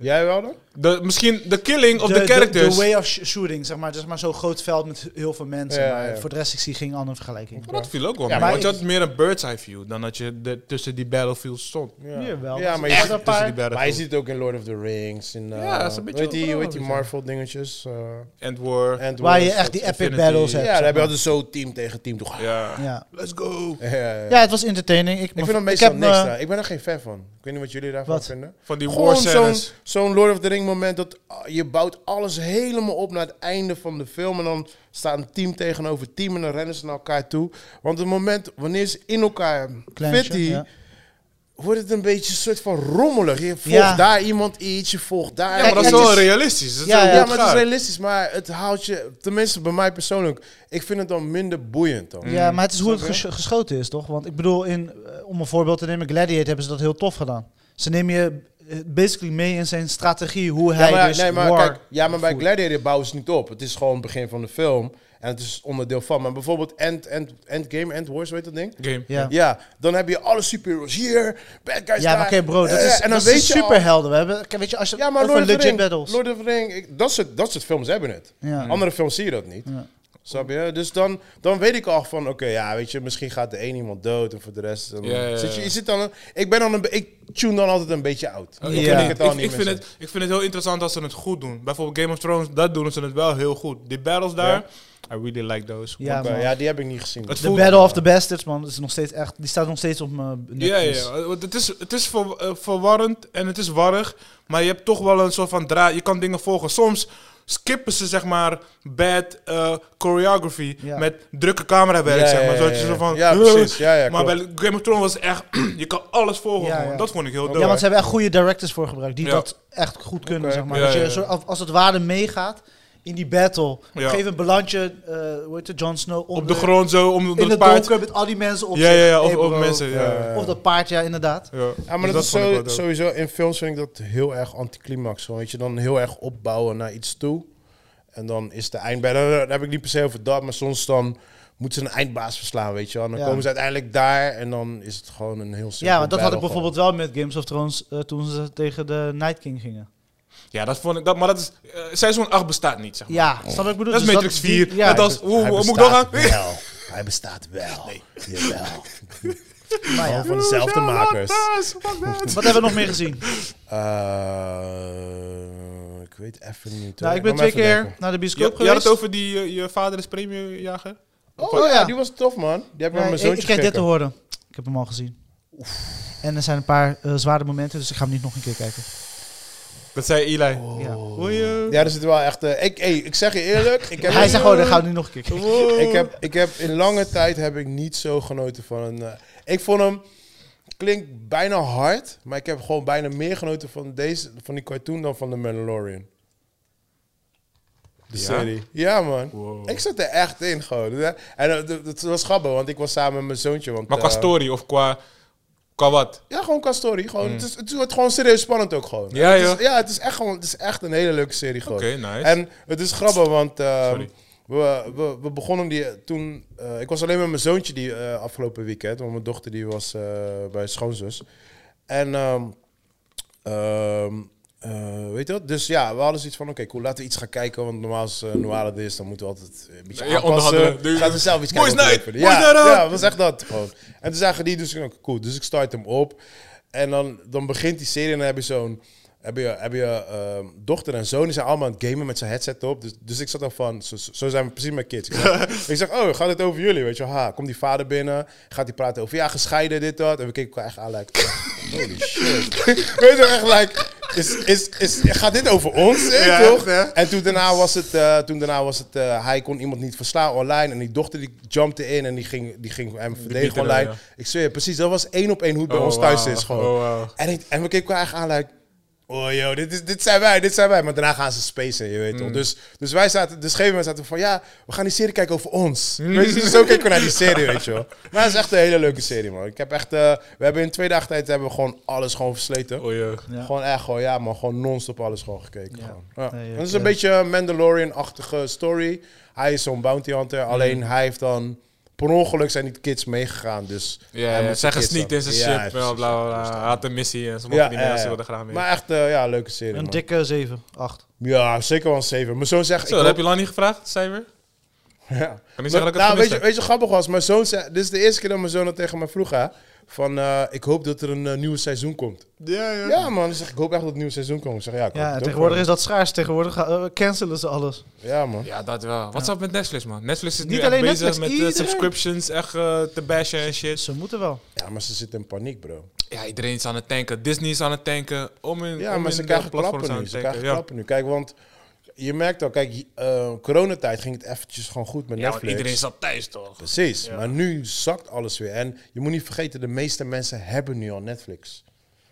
Speaker 3: Jij wel dan?
Speaker 1: De, misschien de killing of de
Speaker 2: De,
Speaker 1: characters.
Speaker 2: way of sh- shooting, zeg maar. Het is maar zo'n groot veld met heel veel mensen.
Speaker 3: Ja,
Speaker 2: maar
Speaker 3: ja.
Speaker 2: voor de rest, ik zie geen andere vergelijking.
Speaker 1: Maar dat viel ook wel
Speaker 3: Ja,
Speaker 1: mee,
Speaker 3: maar
Speaker 1: want je
Speaker 3: ik-
Speaker 1: had meer een bird's eye view... dan dat je de- tussen die battlefields stond.
Speaker 3: Ja,
Speaker 2: Jawel.
Speaker 3: ja maar, je
Speaker 1: Echt tussen
Speaker 3: ziet,
Speaker 1: die
Speaker 3: maar je
Speaker 1: battlefields.
Speaker 3: ziet het ook in Lord of the Rings. In, eh,
Speaker 1: Ja, dat is een beetje
Speaker 3: Weet die,
Speaker 1: overal,
Speaker 3: weet die
Speaker 1: weet je.
Speaker 3: Marvel-dingetjes? eh,
Speaker 1: End war.
Speaker 3: Ant
Speaker 2: Waar je
Speaker 3: Wars,
Speaker 2: echt die
Speaker 3: dat-
Speaker 2: epic
Speaker 1: Infinity.
Speaker 2: battles
Speaker 3: Ja,
Speaker 2: hebt.
Speaker 3: daar
Speaker 2: zeg
Speaker 3: heb je
Speaker 2: maar.
Speaker 3: altijd zo team tegen team. Toch?
Speaker 1: Ja.
Speaker 2: ja.
Speaker 1: Let's go.
Speaker 3: Ja, ja, ja.
Speaker 2: ja, het was entertaining. Ik,
Speaker 3: Ik vind hem
Speaker 2: ik
Speaker 3: meestal
Speaker 2: heb eh,
Speaker 3: niks.
Speaker 2: me-
Speaker 3: daar. Ik ben er geen fan van. Ik weet niet wat jullie daarvan
Speaker 2: Wat?
Speaker 3: vinden.
Speaker 1: Van die war
Speaker 3: Gewoon zo'n
Speaker 1: scenes.
Speaker 3: zo'n Lord of the Ring moment dat ah, je bouwt alles helemaal op naar het einde van de film. En dan staat een team tegenover team en dan rennen ze naar elkaar toe. Want het moment wanneer ze in elkaar
Speaker 2: Kleintje,
Speaker 3: fitty,
Speaker 2: ja.
Speaker 3: wordt het een beetje een soort van rommelig. Je volgt
Speaker 2: Ja.
Speaker 3: daar iemand iets, je volgt daar.
Speaker 1: Ja, maar dat is
Speaker 2: Kijk,
Speaker 1: wel
Speaker 2: het is-
Speaker 1: realistisch. Dat is
Speaker 2: Ja,
Speaker 1: wel
Speaker 2: ja,
Speaker 1: hoe
Speaker 3: Ja,
Speaker 1: het
Speaker 3: maar het is
Speaker 1: gaat.
Speaker 3: realistisch, maar het houdt je, tenminste bij mij persoonlijk, ik vind het dan minder boeiend dan.
Speaker 2: Ja, maar het is hoe het
Speaker 3: Mm. Snap je?
Speaker 2: ges- geschoten is, toch? Want ik bedoel, in, eh, om een voorbeeld te nemen, Gladiator hebben ze dat heel tof gedaan. Ze nemen je eh, basically mee in zijn strategie, hoe
Speaker 3: Ja,
Speaker 2: hij
Speaker 3: maar,
Speaker 2: dus
Speaker 3: nee, maar,
Speaker 2: war
Speaker 3: kijk, ja, maar bij
Speaker 2: voert.
Speaker 3: Gladiator bouwen ze niet op. Het is gewoon het begin van de film. En het is onderdeel van. Maar bijvoorbeeld End, End, Endgame, End Wars, weet dat ding?
Speaker 1: Game.
Speaker 2: Ja.
Speaker 3: eh, Ja, dan heb je alle superheroes hier, bad guys
Speaker 2: Ja,
Speaker 3: daar.
Speaker 2: maar oké bro, dat
Speaker 3: Eh,
Speaker 2: is,
Speaker 3: en dan
Speaker 2: dat
Speaker 3: weet
Speaker 2: is
Speaker 3: je al-
Speaker 2: superhelden. We hebben, kijk, weet je, als je
Speaker 3: Ja, maar
Speaker 2: over
Speaker 3: Lord of, the
Speaker 2: legit
Speaker 3: Ring,
Speaker 2: battles.
Speaker 3: Lord of the Ring, ik- dat, soort, dat soort films hebben het.
Speaker 1: Mm.
Speaker 2: Ja.
Speaker 3: Andere films zie je dat niet.
Speaker 2: Ja.
Speaker 3: Snap je? Dus dan, dan weet ik al van, oké, ja, weet je, misschien gaat de een iemand dood en voor de rest... dan-
Speaker 1: Ja, ja, ja.
Speaker 3: Zit je, je zit dan, een- ik ben dan een, be- ik tune dan altijd een beetje oud.
Speaker 1: Oh, Ik,
Speaker 3: Dan
Speaker 2: Ja.
Speaker 3: vind
Speaker 1: vind
Speaker 3: het
Speaker 1: het,
Speaker 3: al
Speaker 1: ik,
Speaker 3: niet
Speaker 1: ik
Speaker 3: meer
Speaker 1: vind
Speaker 3: zo.
Speaker 1: het, ik vind het heel interessant als ze het goed doen. Bijvoorbeeld Game of Thrones, dat doen ze het wel heel goed. Die battles daar, I really like those.
Speaker 2: Ja,
Speaker 3: Maar ja, die heb ik niet gezien.
Speaker 1: Het
Speaker 2: De
Speaker 1: voelt-
Speaker 2: Battle of the Bastards, man, is nog steeds echt, die staat nog steeds op mijn
Speaker 1: Ja,
Speaker 2: Netflix.
Speaker 1: ja, want het is, het is ver- eh, verwarrend en het is warrig, maar je hebt toch wel een soort van draai. Je kan dingen volgen. Soms skippen ze zeg maar bad eh, choreography
Speaker 2: Ja.
Speaker 1: met drukke camerawerk,
Speaker 3: Ja,
Speaker 1: zeg maar.
Speaker 3: ja,
Speaker 1: Zodat
Speaker 3: ja,
Speaker 1: je
Speaker 3: ja.
Speaker 1: zo van...
Speaker 3: Ja, precies. Ja, ja,
Speaker 1: maar
Speaker 3: klopt.
Speaker 1: bij Game of Thrones was het echt... je kan alles volgen.
Speaker 2: Ja,
Speaker 1: gewoon.
Speaker 2: ja.
Speaker 1: Dat vond ik heel dope.
Speaker 2: Ja, want ze hebben echt goede directors voor gebruikt. Die
Speaker 1: Ja.
Speaker 2: dat echt goed kunnen,
Speaker 3: Oké.
Speaker 2: zeg maar.
Speaker 1: Ja,
Speaker 2: dat je
Speaker 1: ja, ja.
Speaker 2: zo- als- als het ware meegaat in die battle. Geef Op een
Speaker 1: Ja.
Speaker 2: gegeven moment beland je, eh, hoe heet het, Jon Snow onder,
Speaker 1: op de grond zo, om, om
Speaker 2: in
Speaker 1: het
Speaker 2: het
Speaker 1: paard.
Speaker 2: donker met al die mensen op
Speaker 1: Ja,
Speaker 2: zich.
Speaker 1: ja, ja, of,
Speaker 2: Hey,
Speaker 1: of
Speaker 2: bro.
Speaker 1: mensen. Ja.
Speaker 3: Ja.
Speaker 2: Of dat paard, ja, inderdaad.
Speaker 1: Ja.
Speaker 3: Ja, maar
Speaker 1: Dus
Speaker 3: dat, is
Speaker 1: vond ik
Speaker 3: zo-
Speaker 1: wel dope.
Speaker 3: sowieso in films vind ik dat heel erg anticlimax. Gewoon, Weet je, dan heel erg opbouwen naar iets toe. En dan is de eindbaas. Dan, dan heb ik niet per se over dat, maar soms dan moeten ze een eindbaas verslaan, weet je wel. En dan
Speaker 2: Ja.
Speaker 3: komen ze uiteindelijk daar en dan is het gewoon een heel simpel
Speaker 2: Ja, want dat had ik
Speaker 3: battle gewoon.
Speaker 2: bijvoorbeeld wel met Games of Thrones eh, toen ze tegen de Night King gingen.
Speaker 1: Ja, dat vond ik. Dat, maar dat is. eh, seizoen 8 bestaat niet, zeg maar.
Speaker 2: Ja, snap wat ik bedoel?
Speaker 1: Oh. Dat is
Speaker 2: Dus
Speaker 1: Matrix
Speaker 2: die-
Speaker 1: 4.
Speaker 2: ja,
Speaker 1: Net als.
Speaker 3: Hij
Speaker 1: Hoe hoe moet ik doorgaan?
Speaker 3: bestaat wel. Hij bestaat wel. Jawel.
Speaker 2: maar ja.
Speaker 3: Allemaal van dezelfde makers.
Speaker 2: Wat hebben we nog meer gezien?
Speaker 3: Eh, ik weet even niet. hoor.
Speaker 2: nou, ik ben
Speaker 3: moet
Speaker 2: twee
Speaker 3: even
Speaker 2: keer
Speaker 3: denken.
Speaker 2: naar de
Speaker 1: Je,
Speaker 2: bioscoop
Speaker 1: je had
Speaker 2: geweest.
Speaker 1: het over die. eh, je vader is premiejager.
Speaker 3: Oh ja,
Speaker 2: ja.
Speaker 3: die was tof, man. Die heb ik met
Speaker 2: Nee,
Speaker 3: mijn
Speaker 2: ik,
Speaker 3: zoontje
Speaker 2: ik ken dit te
Speaker 3: gekeken.
Speaker 2: horen. Ik heb hem al gezien. En er zijn een paar eh, zware momenten, dus ik ga hem niet nog een keer kijken.
Speaker 1: Dat zei Eli.
Speaker 3: Oh.
Speaker 2: Ja.
Speaker 1: Hoor Oh. je?
Speaker 3: Ja, er zit wel echt. eh, ik, hey, ik zeg je eerlijk. Ik heb
Speaker 2: Hij zegt oh, gewoon, dan gaan we nu nog een keer kijken.
Speaker 1: Wow.
Speaker 3: ik heb, ik heb in lange tijd heb ik niet zo genoten van een. eh, ik vond hem klinkt bijna hard, maar ik heb gewoon bijna meer genoten van deze, van die cartoon dan van The Mandalorian. De
Speaker 1: Ja?
Speaker 3: serie. Ja man.
Speaker 1: Wow.
Speaker 3: Ik zat er echt in gewoon. En eh, dat- dat was grappig, want ik was samen met mijn zoontje. Want,
Speaker 1: Maar qua
Speaker 3: eh,
Speaker 1: story of qua Qua wat?
Speaker 3: Ja, gewoon qua story. Gewoon, het, is, het wordt gewoon serieus spannend ook gewoon.
Speaker 1: Mm. Ja,
Speaker 3: het
Speaker 1: joh.
Speaker 3: is, ja, het is echt gewoon, het is echt een hele leuke serie gewoon.
Speaker 1: Oké, nice.
Speaker 3: En het is grappig, want ehm,
Speaker 1: Sorry.
Speaker 3: we, we, we begonnen die toen. eh, ik was alleen met mijn zoontje die eh, afgelopen weekend, want mijn dochter die was eh, bij schoonzus. En ehm, ehm, eh, weet je wat? Dus ja, we hadden zoiets van: oké, cool, laten we iets gaan kijken. Want normaal als eh Noir het is, dan moeten we altijd een
Speaker 1: Ja,
Speaker 3: beetje aanpassen.
Speaker 1: onderhandelen. Dus-
Speaker 3: Laten we zelf iets
Speaker 1: Boys
Speaker 3: kijken. wat we
Speaker 1: night!
Speaker 3: leuk vinden.
Speaker 1: Boys night
Speaker 3: ja,
Speaker 1: out!
Speaker 3: ja, dat was echt dat gewoon. En toen zagen die, dus ik dacht, cool. Dus ik start hem op. En dan, dan begint die serie en dan heb je zo'n... Heb je, heb je ehm, dochter en zoon, die zijn allemaal aan het gamen met zijn headset op. Dus, dus ik zat dan van, zo, zo zijn we precies met kids. Ik zeg, ik zeg, oh, gaat het over jullie? Weet je, wel? ha, komt die vader binnen, gaat die praten over, ja, gescheiden, dit, dat. En we keken elkaar echt aan, like, holy shit. Weet je, wel, echt, like, is, is, is, gaat dit over ons? eh,
Speaker 1: Ja,
Speaker 3: toch?
Speaker 1: echt, hè?
Speaker 3: En toen daarna was het, eh, toen daarna was het eh, hij kon iemand niet verslaan online. En die dochter die jumpte in en die ging, die ging hem verdedigen
Speaker 1: eruit,
Speaker 3: online. Ik zweer, je, precies, dat was één op één hoe het bij
Speaker 1: Oh,
Speaker 3: ons thuis
Speaker 1: wauw.
Speaker 3: is gewoon.
Speaker 1: Oh, wauw.
Speaker 3: en, ik- en we keken elkaar eigenlijk aan, like, oh yo, dit, is, dit zijn wij, dit zijn wij. Maar daarna gaan ze spacen, je weet
Speaker 1: Mm.
Speaker 3: toch. Dus, dus wij zaten, dus op een gegeven moment zaten we van, ja, we gaan die serie kijken over ons.
Speaker 1: Mm.
Speaker 3: Weet je, dus zo keken we naar die serie, weet je wel. Maar het is echt een hele leuke serie, man. Ik heb echt, eh, we hebben in twee dagen tijd hebben we gewoon alles gewoon versleten.
Speaker 1: Oh, joh.
Speaker 2: Ja.
Speaker 3: Gewoon echt gewoon, ja man, gewoon non-stop alles gewoon gekeken.
Speaker 2: Ja.
Speaker 3: Gewoon. Ja.
Speaker 2: Nee,
Speaker 3: het is
Speaker 2: ik,
Speaker 3: een
Speaker 2: eh,
Speaker 3: beetje een Mandalorian-achtige story. Hij is zo'n bounty hunter,
Speaker 1: Mm.
Speaker 3: alleen hij heeft dan... Per ongeluk zijn die kids meegegaan, dus...
Speaker 1: Ja,
Speaker 3: hij
Speaker 1: ja,
Speaker 3: moet
Speaker 1: zijn
Speaker 3: de kids
Speaker 1: gesneakt
Speaker 3: dan-
Speaker 1: in zijn
Speaker 3: Ja,
Speaker 1: shit,
Speaker 3: precies,
Speaker 1: bla bla
Speaker 3: ja,
Speaker 1: bla.
Speaker 3: precies.
Speaker 1: Hij had een missie en ze mochten
Speaker 3: Ja,
Speaker 1: niet meer
Speaker 3: ja,
Speaker 1: en ze
Speaker 3: ja.
Speaker 1: wilden graag mee.
Speaker 3: Maar echt, eh, ja, leuke serie,
Speaker 2: Een
Speaker 3: man.
Speaker 2: dikke 7,
Speaker 1: Oh,
Speaker 2: 8.
Speaker 3: Ja, zeker wel een 7. Mijn zoon zegt...
Speaker 1: Zo,
Speaker 3: ik
Speaker 1: dat heb
Speaker 3: hoop-
Speaker 1: je lang niet gevraagd, het cijfer?
Speaker 3: Ja.
Speaker 1: Kan niet zeggen dat ik het
Speaker 3: nou, weet,
Speaker 1: gemist
Speaker 3: je,
Speaker 1: heb.
Speaker 3: weet je wat grappig was? Mijn zoon zei... Dit is de eerste keer dat mijn zoon dat tegen mij vroeg, hè? Van, eh, ik hoop dat er een eh, nieuw seizoen komt.
Speaker 1: Ja, ja.
Speaker 3: Ja, man. Ik zeg, ik hoop echt dat het nieuw seizoen komt. Ik zeg, ja, ik hoop
Speaker 2: Ja, en
Speaker 3: het ook,
Speaker 2: tegenwoordig is
Speaker 3: man.
Speaker 2: dat schaars. Tegenwoordig eh, cancelen ze alles.
Speaker 3: Ja, man.
Speaker 1: Ja, dat wel. Wat is dat met Netflix, man? Netflix is nu
Speaker 2: Niet
Speaker 1: echt
Speaker 2: alleen
Speaker 1: bezig
Speaker 2: Netflix,
Speaker 1: met eh,
Speaker 2: iedereen.
Speaker 1: subscriptions echt eh, te bashen en shit.
Speaker 2: Ze moeten wel.
Speaker 3: Ja, maar ze zitten in paniek, bro.
Speaker 1: Ja, iedereen is aan het tanken. Disney is aan het tanken. Om in,
Speaker 3: Ja,
Speaker 1: om
Speaker 3: maar
Speaker 1: in
Speaker 3: ze
Speaker 1: de
Speaker 3: krijgen
Speaker 1: platforms
Speaker 3: klappen
Speaker 1: aan
Speaker 3: nu.
Speaker 1: het
Speaker 3: Ze
Speaker 1: tanken,
Speaker 3: krijgen
Speaker 1: ja.
Speaker 3: klappen nu. Kijk, want je merkt al, kijk, eh, coronatijd ging het eventjes gewoon goed met
Speaker 1: Ja, want
Speaker 3: Netflix.
Speaker 1: iedereen zat thuis, toch?
Speaker 3: Precies, maar nu zakt alles weer. En je moet niet vergeten, de meeste mensen hebben nu al Netflix.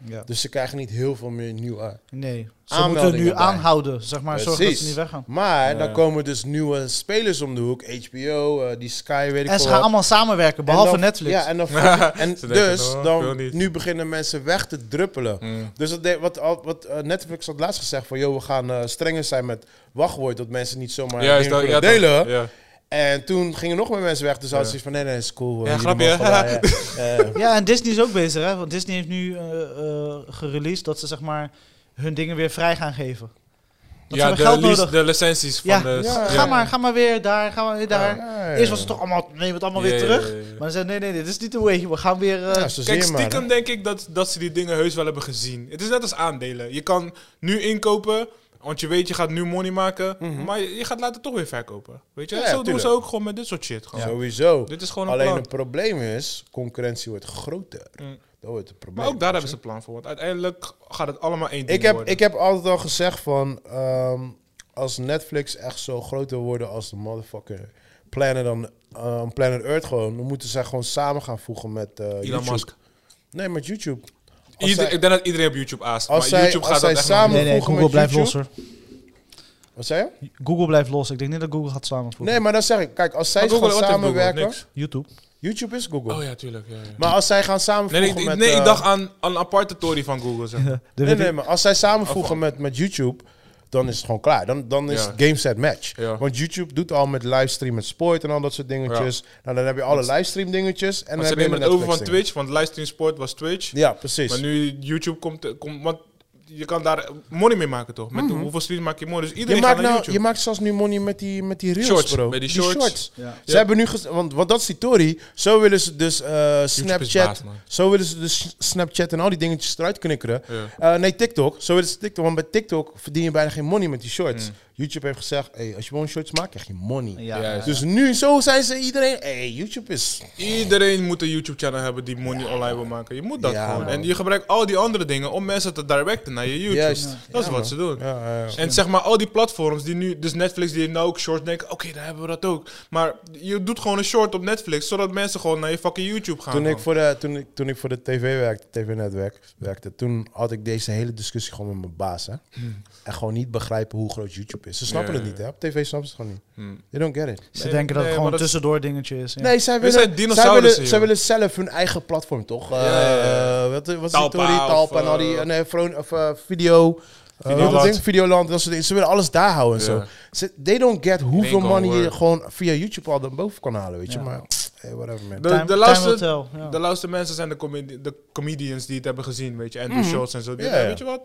Speaker 2: Ja.
Speaker 3: Dus ze krijgen niet heel veel meer nieuw uit.
Speaker 2: Nee. Ze
Speaker 3: Aanmeldingen
Speaker 2: moeten nu
Speaker 3: bij.
Speaker 2: aanhouden. Zeg maar, zorg dat ze niet weggaan.
Speaker 3: Maar dan komen dus nieuwe spelers om de hoek. HBO, eh, die Sky, weet ik
Speaker 2: En ze
Speaker 3: veel
Speaker 2: gaan
Speaker 3: wat.
Speaker 2: allemaal samenwerken,
Speaker 3: En
Speaker 2: behalve
Speaker 3: dan-
Speaker 2: Netflix.
Speaker 3: Ja, en, dan fucking- en
Speaker 1: Ze denken,
Speaker 3: dus
Speaker 1: oh, ik wil
Speaker 3: dan,
Speaker 1: niet.
Speaker 3: nu beginnen mensen weg te druppelen. Dus dat deed- wat, al- wat eh, Netflix had laatst gezegd van... joh, we gaan eh, strenger zijn met wachtwoord... dat mensen niet zomaar
Speaker 1: Ja, is
Speaker 3: dingen
Speaker 1: dat-
Speaker 3: kunnen
Speaker 1: ja, toch.
Speaker 3: delen.
Speaker 1: Ja.
Speaker 3: En toen gingen nog meer mensen weg. Dus hadden ze iets van, nee, nee, is
Speaker 1: Ja,
Speaker 3: cool. eh, jullie
Speaker 1: grapje,
Speaker 3: mogen
Speaker 1: hè?
Speaker 3: daar, eh, eh,
Speaker 2: Ja, en Disney is ook bezig, hè? Want Disney heeft nu eh, eh, gereleased dat ze zeg maar hun dingen weer vrij gaan geven. Want ze
Speaker 1: Ja,
Speaker 2: hebben
Speaker 1: de,
Speaker 2: geld
Speaker 1: lease-
Speaker 2: nodig.
Speaker 1: de licenties van
Speaker 2: ja,
Speaker 1: de...
Speaker 2: ga-
Speaker 3: ja.
Speaker 2: Ga, maar, ga maar weer daar, ga maar weer daar.
Speaker 3: ja, ja.
Speaker 2: Eerst was het toch allemaal, neem het allemaal
Speaker 1: Ja,
Speaker 2: weer
Speaker 1: ja,
Speaker 2: terug.
Speaker 1: ja, ja.
Speaker 2: Maar ze zeiden, nee, nee, nee, dit is niet de way. We gaan weer... eh,
Speaker 3: ja, zo zie
Speaker 1: Kijk,
Speaker 3: je maar, hè.
Speaker 1: stiekem denk ik dat, dat ze die dingen heus wel hebben gezien. Het is net als aandelen. Je kan nu inkopen, want je weet, je gaat nu money maken. Maar je, je gaat later toch weer verkopen. Weet je?
Speaker 3: Mhm. Ja,
Speaker 1: Zo
Speaker 3: ja,
Speaker 1: doen ze
Speaker 3: tuurlijk.
Speaker 1: ook gewoon met dit soort shit. Gewoon.
Speaker 3: Sowieso.
Speaker 1: Dit is gewoon een
Speaker 3: Alleen
Speaker 1: plan. Mm.
Speaker 3: het probleem is, concurrentie wordt groter. Dat wordt het probleem.
Speaker 1: Maar ook daar hebben ze een plan voor. Want uiteindelijk gaat het allemaal één ding
Speaker 3: ik, heb,
Speaker 1: worden.
Speaker 3: ik heb altijd al gezegd van... ehm, als Netflix echt zo groot wil worden als de motherfucker Planet, on, eh, Planet Earth gewoon... dan moeten zij gewoon samen gaan voegen met eh, YouTube.
Speaker 1: Elon Musk.
Speaker 3: Nee, met YouTube. Als
Speaker 1: Ieder-
Speaker 3: zij-
Speaker 1: ik denk dat iedereen op YouTube aast.
Speaker 3: als
Speaker 1: Maar
Speaker 3: zij-
Speaker 1: YouTube
Speaker 3: als
Speaker 1: gaat dat
Speaker 3: zij
Speaker 1: echt
Speaker 3: samen-
Speaker 1: nog
Speaker 2: nee, nee,
Speaker 3: voegen
Speaker 2: Google
Speaker 3: met
Speaker 2: blijft los,
Speaker 3: YouTube?
Speaker 2: hoor.
Speaker 3: Wat zei je?
Speaker 2: Google blijft los. Ik denk niet dat Google gaat samenvoegen.
Speaker 3: Nee, maar dan zeg ik, kijk, als zij
Speaker 1: Maar
Speaker 3: gaan
Speaker 1: Google, wat heeft Google?
Speaker 3: samenwerken...
Speaker 1: Niks.
Speaker 2: YouTube.
Speaker 3: YouTube is Google.
Speaker 1: Oh ja, tuurlijk. Ja, ja.
Speaker 3: Maar als zij gaan
Speaker 1: Nee,
Speaker 3: samenvoegen
Speaker 1: nee, ik,
Speaker 3: met...
Speaker 1: nee, ik
Speaker 3: eh,
Speaker 1: dacht aan, aan een aparte tory van Google. Zeg. maar.
Speaker 2: De
Speaker 3: Nee,
Speaker 2: WP.
Speaker 3: nee, maar als zij samenvoegen met, met YouTube, dan is het gewoon klaar. Dan, dan is
Speaker 1: Ja.
Speaker 3: het game set match.
Speaker 1: Ja.
Speaker 3: Want YouTube doet al met livestream met sport en al dat soort dingetjes. Nou, dan heb je alle livestream dingetjes. En
Speaker 1: Maar
Speaker 3: dan
Speaker 1: ze
Speaker 3: heb je
Speaker 1: nemen
Speaker 3: de
Speaker 1: het over van
Speaker 3: Netflix
Speaker 1: Twitch, want livestream sport was Twitch.
Speaker 3: dingen. Ja, precies.
Speaker 1: Maar nu YouTube komt, komt want je kan daar money mee maken toch? Met hoeveel streams maak je money? Dus
Speaker 3: Mhm. je
Speaker 1: iedereen gaat
Speaker 3: maakt,
Speaker 1: naar
Speaker 3: nou,
Speaker 1: YouTube.
Speaker 3: je maakt zelfs nu money met die, met die reels,
Speaker 1: Shorts,
Speaker 3: bro.
Speaker 1: met die shorts.
Speaker 2: Ja.
Speaker 3: Ze hebben nu... ges- Want, want dat is die story. Zo willen ze dus eh, Snapchat...
Speaker 1: baas, man.
Speaker 3: zo willen ze dus Snapchat en al die dingetjes eruit knikkeren. Eh, nee, TikTok. Zo willen ze TikTok. Want bij TikTok verdien je bijna geen money met die shorts. YouTube heeft gezegd, hey, als je gewoon shorts maakt, krijg je money.
Speaker 2: Mm. Ja,
Speaker 1: Ja,
Speaker 2: ja,
Speaker 1: is-
Speaker 3: Dus nu, zo zijn ze iedereen. hey, YouTube is.
Speaker 1: Iedereen moet een YouTube-channel hebben die money online wil maken. Je moet dat
Speaker 3: Ja,
Speaker 1: gewoon.
Speaker 3: man.
Speaker 1: En je gebruikt al die andere dingen om mensen te directen naar je YouTube.
Speaker 3: Juist.
Speaker 1: Dat is
Speaker 3: Ja,
Speaker 1: wat
Speaker 3: man.
Speaker 1: ze doen.
Speaker 3: Ja, ja, ja.
Speaker 1: En zeg maar, al die platforms die nu, dus Netflix die heeft nou ook shorts, denken, oké, daar hebben we dat ook. Maar je doet gewoon een short op Netflix, zodat mensen gewoon naar je fucking YouTube gaan.
Speaker 3: Toen ik,
Speaker 1: man.
Speaker 3: voor de, toen, ik, toen ik voor de tv werkte,
Speaker 2: Hmm.
Speaker 3: tv-netwerk werkte, toen had ik deze hele discussie gewoon met mijn baas. Hè. En gewoon niet begrijpen hoe groot YouTube YouTube is. Ze snappen
Speaker 1: Ja,
Speaker 3: het
Speaker 1: ja,
Speaker 3: niet,
Speaker 1: ja.
Speaker 3: hè? Op tv snappen ze het gewoon niet.
Speaker 1: Hm.
Speaker 3: They don't get it.
Speaker 2: Ze
Speaker 1: Nee,
Speaker 2: denken
Speaker 1: nee,
Speaker 2: dat het gewoon
Speaker 1: maar dat-
Speaker 2: tussendoor dingetje is. Ja.
Speaker 3: Nee, zij willen,
Speaker 1: zijn
Speaker 3: zij,
Speaker 1: dinosaurussen,
Speaker 3: willen,
Speaker 1: joh.
Speaker 3: zij willen zelf hun eigen platform, toch? Eh
Speaker 1: Ja, ja, ja.
Speaker 3: eh, wat, wat is die
Speaker 1: Talpa
Speaker 3: Tory?
Speaker 1: of,
Speaker 3: Talpa en al die...
Speaker 1: eh,
Speaker 3: eh, nee, Fro- of, eh, video... eh, wat is dat
Speaker 1: Videoland.
Speaker 3: ding? Videoland. Dat soort dingen. Ze willen alles daar houden en
Speaker 1: Ja.
Speaker 3: zo. Ze, they don't get hoeveel
Speaker 1: gonna
Speaker 3: money je
Speaker 1: work.
Speaker 3: gewoon via YouTube al dan boven kan halen, weet je.
Speaker 2: Ja.
Speaker 3: Maar, hey, whatever, man.
Speaker 1: De-
Speaker 2: Time-
Speaker 1: de
Speaker 2: time
Speaker 1: laatste-
Speaker 2: will tell, ja.
Speaker 1: De lauwste mensen zijn de, comedi- de comedians die het hebben gezien, weet je. Andrew Schultz en zo. Die
Speaker 3: Ja,
Speaker 1: denken,
Speaker 3: ja.
Speaker 1: Weet je wat?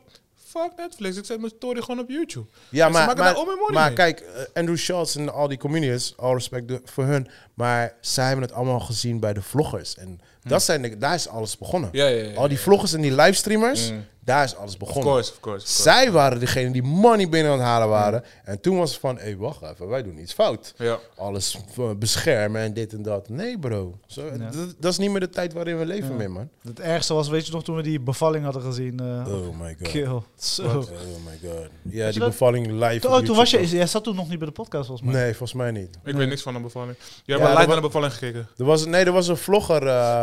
Speaker 1: Fuck Netflix, ik zet mijn story gewoon op YouTube.
Speaker 3: Ja,
Speaker 1: En ze
Speaker 3: maar,
Speaker 1: maken
Speaker 3: maar,
Speaker 1: daar al mijn money
Speaker 3: maar
Speaker 1: mee.
Speaker 3: kijk, eh, Andrew Schultz en al die comedians, all respect de- voor hun. Maar zij hebben het allemaal gezien bij de vloggers. En dat zijn de- daar is alles begonnen.
Speaker 1: Hmm. Ja, ja, ja, ja.
Speaker 3: Al die vloggers en die livestreamers,
Speaker 1: Mm.
Speaker 3: daar is alles
Speaker 1: Of
Speaker 3: begonnen.
Speaker 1: course, of course. Of course.
Speaker 3: Zij waren degene die money binnen aan het halen waren. En toen was het van, hé, hey, wacht even, wij doen iets fout.
Speaker 1: Ja.
Speaker 3: Alles eh, beschermen en dit en dat. Nee, bro. Zo,
Speaker 2: Ja.
Speaker 3: dat, dat is niet meer de tijd waarin we leven
Speaker 2: Ja.
Speaker 3: meer, man.
Speaker 2: Het ergste was, weet je nog, toen we die bevalling hadden gezien. eh,
Speaker 3: Oh my god.
Speaker 2: Kill. Zo.
Speaker 3: Oh my god. Ja, die
Speaker 2: dat-
Speaker 3: bevalling live
Speaker 2: Toen,
Speaker 3: op
Speaker 2: oh, toen was je,
Speaker 3: YouTube.
Speaker 2: jij zat toen nog niet bij de podcast, volgens mij.
Speaker 3: Nee, volgens mij niet.
Speaker 1: Ik weet niks van een bevalling. Je
Speaker 3: Ja,
Speaker 1: hebt maar
Speaker 3: dat
Speaker 1: live
Speaker 3: wa-
Speaker 1: naar de bevalling gekeken.
Speaker 3: Er was, nee, er was een vlogger. eh,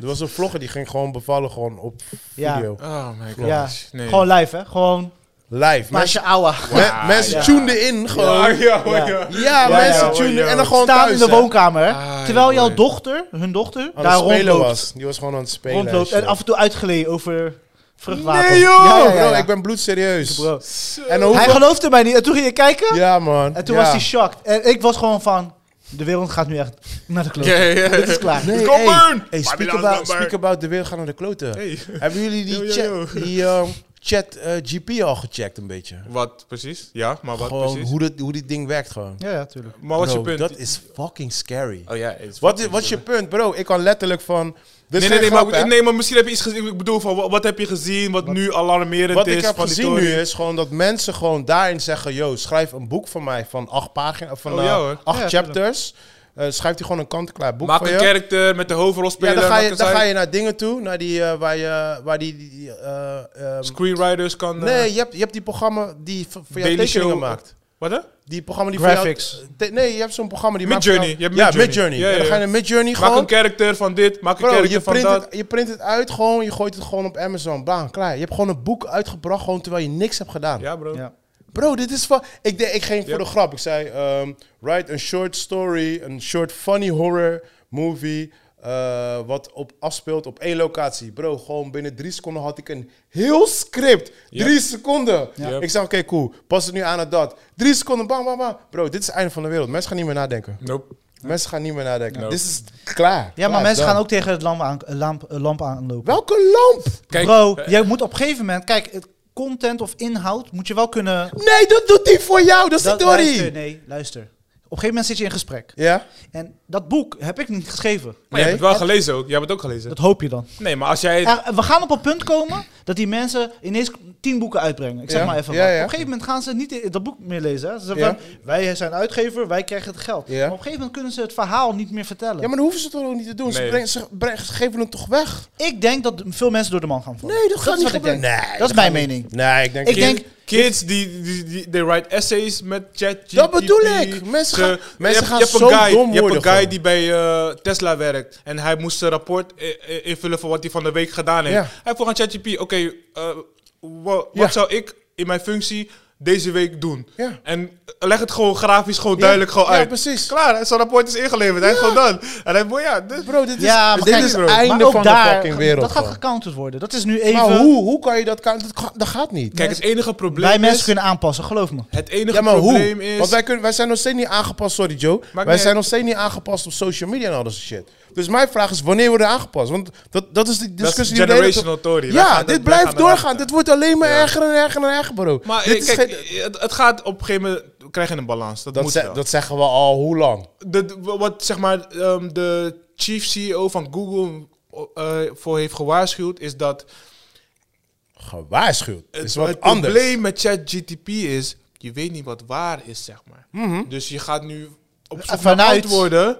Speaker 3: er was een vlogger die ging gewoon bevallen gewoon op
Speaker 2: Ja.
Speaker 3: video.
Speaker 1: Oh my god.
Speaker 2: Ja.
Speaker 1: Nee.
Speaker 2: Gewoon live, hè? Gewoon.
Speaker 3: Live.
Speaker 2: Maar als
Speaker 3: Mensen,
Speaker 2: je ouwe.
Speaker 3: me- mensen
Speaker 2: ja.
Speaker 3: tunen in
Speaker 1: Ja,
Speaker 3: gewoon. Ja,
Speaker 1: ja,
Speaker 2: Ja.
Speaker 1: ja.
Speaker 3: mensen
Speaker 1: ja,
Speaker 3: tunen
Speaker 1: ja.
Speaker 3: en dan gewoon
Speaker 2: Staan
Speaker 3: thuis,
Speaker 2: in de
Speaker 3: hè.
Speaker 2: woonkamer, hè?
Speaker 1: Ah,
Speaker 2: terwijl jouw
Speaker 1: mooi.
Speaker 2: dochter, hun dochter,
Speaker 3: Aan
Speaker 2: daar
Speaker 3: het spelen
Speaker 2: rondloopt.
Speaker 3: was. Die was gewoon aan het spelen.
Speaker 2: rondloopt en
Speaker 3: shit.
Speaker 2: af en toe uitgeleed over vruchtwater.
Speaker 3: Nee joh!
Speaker 2: Ja, ja, ja,
Speaker 3: Bro,
Speaker 2: ja.
Speaker 3: ik ben bloedserieus.
Speaker 2: Bro.
Speaker 3: En hoeveel-
Speaker 2: Hij geloofde mij niet. En toen ging je kijken
Speaker 3: Ja man.
Speaker 2: en toen
Speaker 3: Ja.
Speaker 2: was hij shocked. En ik was gewoon van, de wereld gaat nu echt naar de kloof.
Speaker 1: Ja, ja, ja.
Speaker 2: Dit is klaar.
Speaker 3: Nee,
Speaker 1: Kom
Speaker 3: hey,
Speaker 1: maar!
Speaker 3: hey, speak,
Speaker 1: Babylon's
Speaker 3: about,
Speaker 1: number.
Speaker 3: speak about de wereld gaan naar de kloten.
Speaker 1: Hey.
Speaker 3: Hebben jullie die,
Speaker 1: Yo, yo,
Speaker 3: chat-
Speaker 1: yo.
Speaker 3: die ehm, chat eh, GP al gecheckt een beetje?
Speaker 1: Wat precies? Ja, maar wat
Speaker 3: gewoon
Speaker 1: precies?
Speaker 3: hoe, dat, hoe dit ding werkt gewoon.
Speaker 2: Ja, ja, tuurlijk.
Speaker 1: Maar wat is je
Speaker 3: Bro,
Speaker 1: punt?
Speaker 3: dat is fucking scary.
Speaker 1: Oh ja, is
Speaker 3: Wat is, wat is je punt, bro? Ik kan letterlijk van. Dit
Speaker 1: Nee,
Speaker 3: is
Speaker 1: nee, nee,
Speaker 3: geen grap,
Speaker 1: maar,
Speaker 3: hè?
Speaker 1: nee, maar misschien heb je iets gezien. Ik bedoel, van wat, wat heb je gezien wat, nu alarmerend
Speaker 3: Wat
Speaker 1: is?
Speaker 3: ik heb
Speaker 1: van die
Speaker 3: gezien
Speaker 1: tory?
Speaker 3: nu is gewoon dat mensen gewoon daarin zeggen: yo, schrijf een boek van mij van acht pagina's, van
Speaker 1: Oh,
Speaker 3: eh,
Speaker 1: ja, hoor.
Speaker 3: acht
Speaker 2: Ja, tuurlijk.
Speaker 3: chapters. Eh schrijft hij gewoon een kant-en-klaar boek
Speaker 1: Maak
Speaker 3: van
Speaker 1: een
Speaker 3: je.
Speaker 1: karakter met de
Speaker 3: ja,
Speaker 1: hoofdrolspeler.
Speaker 3: dan ga, je,
Speaker 1: welke
Speaker 3: dan
Speaker 1: zijn-
Speaker 3: ga je naar dingen toe, naar die eh, waar je waar die. die, eh, ehm,
Speaker 1: Screenwriters kan... eh,
Speaker 3: nee, je hebt, je hebt die programma die v- voor jou
Speaker 1: Daily
Speaker 3: tekeningen
Speaker 1: Show.
Speaker 3: maakt.
Speaker 1: Wat hè?
Speaker 3: Die programma die
Speaker 2: Graphics.
Speaker 3: voor jou. te- nee, je hebt zo'n programma die
Speaker 1: Midjourney,
Speaker 3: maakt.
Speaker 1: je hebt
Speaker 3: Midjourney. Ja,
Speaker 1: Midjourney.
Speaker 3: Midjourney.
Speaker 1: Ja,
Speaker 3: Ja, Dan
Speaker 1: ja.
Speaker 3: ga je naar Midjourney
Speaker 1: Maak
Speaker 3: gewoon.
Speaker 1: een karakter van dit, maak een
Speaker 3: Bro,
Speaker 1: karakter
Speaker 3: je
Speaker 1: van
Speaker 3: print,
Speaker 1: dat.
Speaker 3: het, je print het uit gewoon, je gooit het gewoon op Amazon. Bam, klaar. Je hebt gewoon een boek uitgebracht, gewoon terwijl je niks hebt gedaan.
Speaker 1: Ja, bro.
Speaker 2: Ja.
Speaker 3: Bro, dit is van. Ik, de- ik ging voor
Speaker 1: Ja.
Speaker 3: de grap. Ik zei: ehm, write een short story, een short funny horror movie. eh, wat op, afspeelt op één locatie. Bro, gewoon binnen drie seconden had ik een heel script.
Speaker 1: Ja.
Speaker 3: Drie seconden.
Speaker 1: Ja.
Speaker 3: Ik zei, oké, cool. Pas het nu aan het dat. Drie seconden, bam, bam, bam. Bro, dit is het einde van de wereld. Mensen gaan niet meer nadenken.
Speaker 1: Nope.
Speaker 3: Mensen gaan niet meer nadenken.
Speaker 1: Ja.
Speaker 3: Dit is klaar.
Speaker 2: Ja, maar
Speaker 3: Klaar,
Speaker 2: mensen
Speaker 3: done.
Speaker 2: gaan ook tegen het lamp, aan, lamp, eh, lamp aanlopen.
Speaker 3: Welke lamp?
Speaker 1: Kijk,
Speaker 2: Bro,
Speaker 1: eh,
Speaker 2: jij moet op een gegeven moment... Kijk, het content of inhoud moet je wel kunnen...
Speaker 3: Nee, dat doet hij voor jou. Dat is de
Speaker 2: luister,
Speaker 3: Dory.
Speaker 2: nee, luister. Op een gegeven moment zit je in gesprek.
Speaker 3: Ja?
Speaker 2: En dat boek heb ik niet geschreven.
Speaker 1: maar je hebt het wel
Speaker 2: Nee.
Speaker 1: gelezen ook. Jij hebt het ook gelezen.
Speaker 2: Dat hoop je dan.
Speaker 1: Nee, maar als jij...
Speaker 2: Er- we gaan op een punt komen dat die mensen ineens tien boeken uitbrengen. Ik zeg
Speaker 3: Ja,
Speaker 2: maar even.
Speaker 3: ja,
Speaker 2: wat.
Speaker 3: ja.
Speaker 2: Op een gegeven moment gaan ze niet i- dat boek meer lezen. Hè. Ze zeggen
Speaker 3: Ja.
Speaker 2: van, wij zijn uitgever, wij krijgen het geld.
Speaker 3: Ja.
Speaker 2: Maar op een gegeven moment kunnen ze het verhaal niet meer vertellen.
Speaker 3: Ja, maar dan hoeven ze het toch ook niet te doen. Ze,
Speaker 1: Nee.
Speaker 3: brengen, ze, brengen- ze geven het toch weg?
Speaker 2: Ik denk dat veel mensen door de man gaan vallen.
Speaker 3: Nee, dat gaat
Speaker 2: is
Speaker 3: niet
Speaker 2: wat ik denk.
Speaker 3: gebeuren. Nee,
Speaker 2: dat
Speaker 3: dat
Speaker 2: is mijn
Speaker 3: gaat niet.
Speaker 2: mening.
Speaker 3: Nee, ik denk...
Speaker 2: Ik
Speaker 1: Kid-
Speaker 2: denk-
Speaker 1: Kids die, die, die they write essays met ChatGPT.
Speaker 3: Dat bedoel ik. Mensen gaan- mensen gaan
Speaker 1: hebt
Speaker 3: zo
Speaker 1: een guy,
Speaker 3: dom
Speaker 1: Je hebt
Speaker 3: worden
Speaker 1: een guy
Speaker 3: gewoon.
Speaker 1: die bij eh, Tesla werkt. En hij moest een rapport eh, eh, invullen van wat hij van de week gedaan heeft.
Speaker 3: Ja.
Speaker 1: Hij vroeg aan ChatGPT, oké, eh, wa- wat
Speaker 3: Ja.
Speaker 1: zou ik in mijn functie deze week doen?
Speaker 3: Ja.
Speaker 1: En leg het gewoon grafisch gewoon
Speaker 3: Ja.
Speaker 1: duidelijk gewoon
Speaker 3: Ja,
Speaker 1: uit.
Speaker 3: precies.
Speaker 1: Klaar, en zijn rapport is ingeleverd. Hij heeft gedaan. En hij moet, ja, dus
Speaker 3: Bro, dit is,
Speaker 2: Ja, maar
Speaker 3: dit
Speaker 2: kijk,
Speaker 3: is
Speaker 1: bro.
Speaker 3: het
Speaker 1: Maar
Speaker 3: einde
Speaker 2: maar ook
Speaker 3: van de
Speaker 2: daar,
Speaker 3: fucking wereld.
Speaker 2: dat gaat
Speaker 3: gewoon.
Speaker 2: gecounterd worden. Dat is nu even...
Speaker 3: Maar hoe, hoe kan je dat... kan- Dat, ga- dat gaat niet.
Speaker 1: Kijk, het enige probleem
Speaker 2: Wij mensen
Speaker 1: is...
Speaker 2: kunnen aanpassen, geloof me.
Speaker 1: Het enige
Speaker 3: ja, maar
Speaker 1: probleem
Speaker 3: hoe?
Speaker 1: is...
Speaker 3: Want wij, kunnen, wij zijn nog steeds niet aangepast, sorry Joe.
Speaker 1: niet
Speaker 3: wij
Speaker 1: uit.
Speaker 3: zijn nog steeds niet aangepast op social media en al dat soort shit. Dus mijn vraag is, wanneer worden we aangepast? Want dat, dat is die discussie die we de hele
Speaker 1: generational
Speaker 3: tijd-
Speaker 1: Tory. Wij
Speaker 3: Ja,
Speaker 1: gaan
Speaker 3: dit
Speaker 1: dat- wij
Speaker 3: blijft
Speaker 1: gaan dat-
Speaker 3: doorgaan. Dit wordt alleen maar
Speaker 1: Ja.
Speaker 3: erger en erger en erger, bro.
Speaker 1: Maar
Speaker 3: dit
Speaker 1: eh,
Speaker 3: is
Speaker 1: kijk,
Speaker 3: geen-
Speaker 1: het, het gaat op een gegeven moment... krijg je een balans. Dat,
Speaker 3: dat,
Speaker 1: moet
Speaker 3: ze-
Speaker 1: wel.
Speaker 3: dat zeggen we al hoe lang?
Speaker 1: De, de- wat zeg maar ehm, de chief CEO van Google eh, voor heeft gewaarschuwd... is dat
Speaker 3: Gewaarschuwd. Het is wat
Speaker 1: het
Speaker 3: anders.
Speaker 1: probleem met ChatGTP is... je weet niet wat waar is, zeg maar.
Speaker 3: Mhm.
Speaker 1: Dus je gaat nu... Op zoek naar
Speaker 2: Vanuit.
Speaker 1: antwoorden.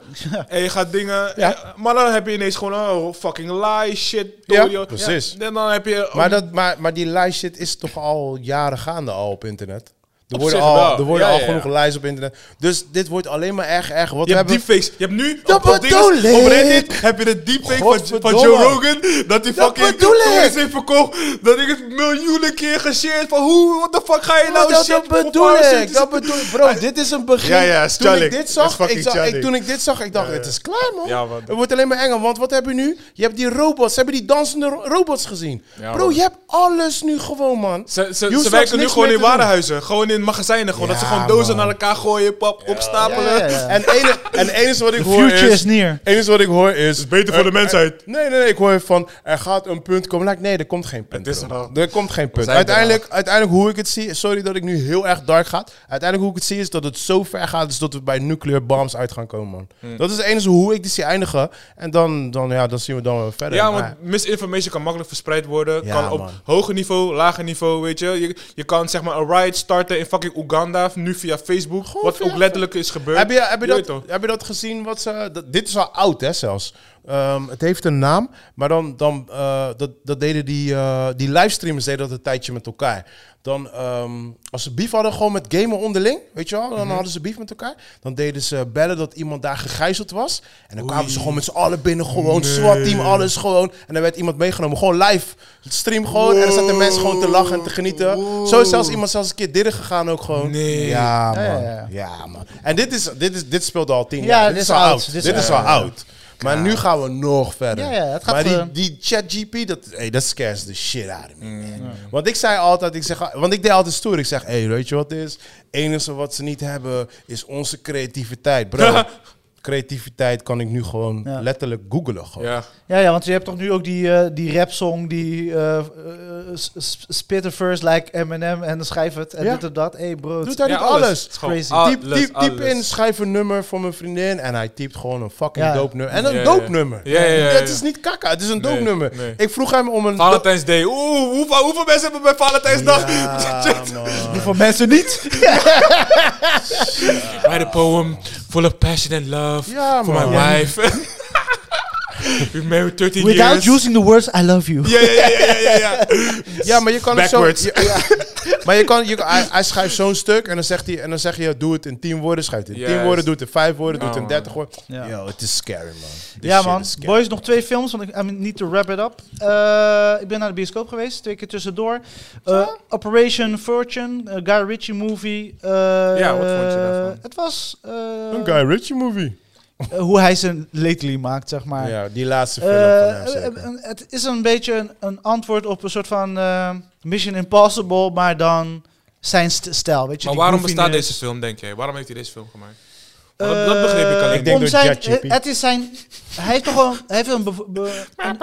Speaker 1: En je gaat dingen...
Speaker 3: Ja.
Speaker 1: eh, Maar dan heb je ineens gewoon... Oh, fucking lie, shit.
Speaker 3: Ja,
Speaker 1: Tory.
Speaker 3: precies.
Speaker 1: en dan heb je... oh,
Speaker 3: Maar, dat, maar, maar die lijst shit is toch al jaren gaande al op internet? Er
Speaker 1: Op
Speaker 3: worden,
Speaker 1: zich wel.
Speaker 3: al, er worden
Speaker 1: Ja,
Speaker 3: al
Speaker 1: ja,
Speaker 3: genoeg
Speaker 1: ja.
Speaker 3: lijsten op internet. Dus dit wordt alleen maar erg, erg. Wat
Speaker 1: Je
Speaker 3: we
Speaker 1: hebt
Speaker 3: hebben...
Speaker 1: deepfakes. Je hebt nu
Speaker 3: Dat
Speaker 1: op, op, dinges-
Speaker 3: bedoel
Speaker 1: op
Speaker 3: ik.
Speaker 1: Reddit heb je de deepfake van, van
Speaker 3: Godverdomme.
Speaker 1: Joe Rogan. Dat die
Speaker 3: Dat
Speaker 1: fucking
Speaker 3: bedoel ik.
Speaker 1: toys heeft verkocht. Dat ik het miljoenen keer geshared van hoe, what the fuck ga je nou
Speaker 3: dat,
Speaker 1: shit
Speaker 3: dat
Speaker 1: op
Speaker 3: bedoel
Speaker 1: haar
Speaker 3: ik.
Speaker 1: zitten?
Speaker 3: Dat bedoel ik. Bro, dit is een begin.
Speaker 1: Ja, ja,
Speaker 3: toen
Speaker 1: Stalin.
Speaker 3: ik dit
Speaker 1: Dat is
Speaker 3: zag,
Speaker 1: fucking
Speaker 3: ik zag ik,
Speaker 1: Stalin.
Speaker 3: toen ik dit zag, ik dacht, het is klaar, man.
Speaker 1: Ja, man.
Speaker 3: Het wordt alleen maar enger. Want wat heb je nu? Je hebt die robots. Ze hebben die dansende ro- robots gezien.
Speaker 1: Ja,
Speaker 3: Bro,
Speaker 1: man.
Speaker 3: je hebt alles nu gewoon, man.
Speaker 1: Ze,
Speaker 3: Je
Speaker 1: ze,
Speaker 3: hoeft
Speaker 1: ze
Speaker 3: straks
Speaker 1: werken nu
Speaker 3: niks
Speaker 1: gewoon
Speaker 3: meer
Speaker 1: in
Speaker 3: te doen.
Speaker 1: warenhuizen. Gewoon in magazijnen. Gewoon, dat ze
Speaker 3: Ja,
Speaker 1: gewoon dozen
Speaker 3: man.
Speaker 1: naar elkaar gooien, pap, opstapelen.
Speaker 2: Ja, ja, ja.
Speaker 3: En enig, en enige wat ik
Speaker 2: The
Speaker 3: hoor
Speaker 2: future
Speaker 3: is...
Speaker 2: is near.
Speaker 3: enige wat ik hoor is...
Speaker 1: is beter voor de
Speaker 3: er-
Speaker 1: mensheid.
Speaker 3: er- nee, nee, nee. Ik hoor van, er gaat een punt komen. Like, nee, er komt geen punt.
Speaker 1: Het is er
Speaker 3: bro.
Speaker 1: al.
Speaker 3: Er komt geen punt.
Speaker 1: zijn er
Speaker 3: Uiteindelijk, uiteindelijk hoe ik het zie... Sorry dat ik nu heel erg dark ga. Uiteindelijk hoe ik het zie is dat het zo ver gaat... is dat we bij nuclear bombs uit gaan komen, man.
Speaker 1: Hmm.
Speaker 3: Dat is het enige hoe ik dit zie eindigen. En dan, dan, ja, dan zien we dan weer verder.
Speaker 1: Ja,
Speaker 3: Maar-
Speaker 1: want misinformation kan makkelijk verspreid worden.
Speaker 3: Ja,
Speaker 1: kan op
Speaker 3: man.
Speaker 1: hoger niveau, lager niveau, weet je. je. Je kan zeg maar een riot starten in fucking Oeganda, nu via Facebook.
Speaker 3: Gewoon
Speaker 1: wat
Speaker 3: via
Speaker 1: ook letterlijk is gebeurd.
Speaker 3: Heb je, heb, je
Speaker 1: Je weet
Speaker 3: dat,
Speaker 1: toch?
Speaker 3: heb je dat gezien? Wat ze, dat- dit is al oud, hè, zelfs. Ehm, het heeft een naam, maar dan, dan eh, dat, dat deden die, eh, die livestreamers deden dat een tijdje met elkaar. Dan, ehm, als ze beef hadden gewoon met gamen onderling, weet je wel,
Speaker 1: Mhm.
Speaker 3: dan hadden ze beef met elkaar. Dan deden ze bellen dat iemand daar gegijzeld was. En dan kwamen ze gewoon met z'n allen binnen, gewoon SWAT-team, alles gewoon. En dan werd iemand meegenomen, gewoon live. Het stream gewoon, en dan zaten mensen gewoon te lachen en te genieten. Zo is zelfs iemand zelfs een keer dirren gegaan ook gewoon.
Speaker 1: Nee.
Speaker 3: Ja, man.
Speaker 2: ja,
Speaker 3: Ja,
Speaker 2: ja.
Speaker 3: man. En dit, is, dit, is, dit speelde al tien
Speaker 2: Ja,
Speaker 3: jaar.
Speaker 2: dit is oud.
Speaker 3: Dit
Speaker 2: Dit
Speaker 3: is,
Speaker 2: is
Speaker 3: al oud. Maar nu gaan we nog verder.
Speaker 2: Ja, ja, het gaat,
Speaker 3: maar die,
Speaker 2: eh,
Speaker 3: die ChatGP, dat, hey, dat scares the shit out of me.
Speaker 2: Mm,
Speaker 3: man. Want ik zei altijd, ik zeg, want ik deed altijd stoer. Ik zeg, hey, weet je wat het is? enige wat ze niet hebben is onze creativiteit. Bro, creativiteit kan ik nu gewoon
Speaker 2: Ja.
Speaker 3: letterlijk googlen. Gewoon.
Speaker 1: Ja.
Speaker 2: Ja, ja, want je hebt toch nu ook die, eh die rap-song, die eh eh, s- s- spit first like Eminem en dan schrijf het en
Speaker 3: Ja.
Speaker 2: dit en dat. Hé, hey, bro.
Speaker 3: Doet hij
Speaker 1: Ja,
Speaker 3: niet alles?
Speaker 1: Gewoon
Speaker 2: Crazy.
Speaker 1: alles,
Speaker 3: Typ, typ, typ
Speaker 1: alles.
Speaker 3: in, schrijf een nummer voor mijn vriendin. En hij typt gewoon een fucking
Speaker 2: Ja.
Speaker 3: dope nummer. En een
Speaker 1: Ja,
Speaker 3: dope
Speaker 1: ja.
Speaker 3: nummer.
Speaker 1: Ja, ja, ja, ja.
Speaker 3: Het is niet kakka, het is een dope
Speaker 1: Nee,
Speaker 3: nummer.
Speaker 1: nee.
Speaker 3: Ik vroeg hem om een...
Speaker 1: Valentijns Day. Oeh, hoeveel, hoeveel mensen hebben bij Valentijnsdag?
Speaker 3: Ja,
Speaker 1: Ah,
Speaker 3: man.
Speaker 2: Voor mensen niet.
Speaker 1: Write a poem full of passion and love
Speaker 3: Ja,
Speaker 1: for
Speaker 3: man.
Speaker 1: my wife. We've married 13
Speaker 2: Without
Speaker 1: years.
Speaker 2: using the words, I love you.
Speaker 1: Ja, ja, ja, ja, ja, ja, ja.
Speaker 3: Ja, maar je kan het
Speaker 1: Backwards.
Speaker 3: zo... Ja, ja. Maar je kan, je, kan- hij, hij schrijft zo'n stuk en dan zegt hij, en dan zeg je, doe het in tien woorden, schrijf het in tien
Speaker 1: Juist. Oh,
Speaker 3: woorden, doe het in vijf woorden, doe het in
Speaker 1: Ja,
Speaker 3: dertig woorden.
Speaker 2: Ja.
Speaker 3: Yo, het is scary, man. This
Speaker 2: ja
Speaker 3: shit
Speaker 2: man,
Speaker 3: is scary.
Speaker 2: boys, nog twee films, want ik I mean, need to wrap it up. Eh, ik ben naar de bioscoop geweest, twee keer tussendoor. Eh, Operation Fortune, eh, Guy Ritchie movie. eh,
Speaker 1: Ja, wat vond je daarvan?
Speaker 2: Het was eh,
Speaker 3: Een Guy Ritchie movie.
Speaker 2: eh, hoe hij zijn lately maakt, zeg maar.
Speaker 3: Ja, die laatste film van hem
Speaker 2: Eh,
Speaker 3: zeker.
Speaker 2: eh, het is een beetje een, een antwoord op een soort van eh, Mission Impossible, maar dan zijn st- stijl. Weet je,
Speaker 1: Maar
Speaker 2: die
Speaker 1: waarom bestaat
Speaker 2: goofiness.
Speaker 1: deze film, denk jij? Waarom heeft hij deze film gemaakt? Want dat, dat begreep ik
Speaker 2: Eh,
Speaker 1: alleen
Speaker 3: Ik denk
Speaker 2: om
Speaker 3: door
Speaker 2: zijn,
Speaker 3: ChatGPT.
Speaker 2: eh, Het is zijn. Hij heeft toch wel. Hij heeft een, bev- be- een,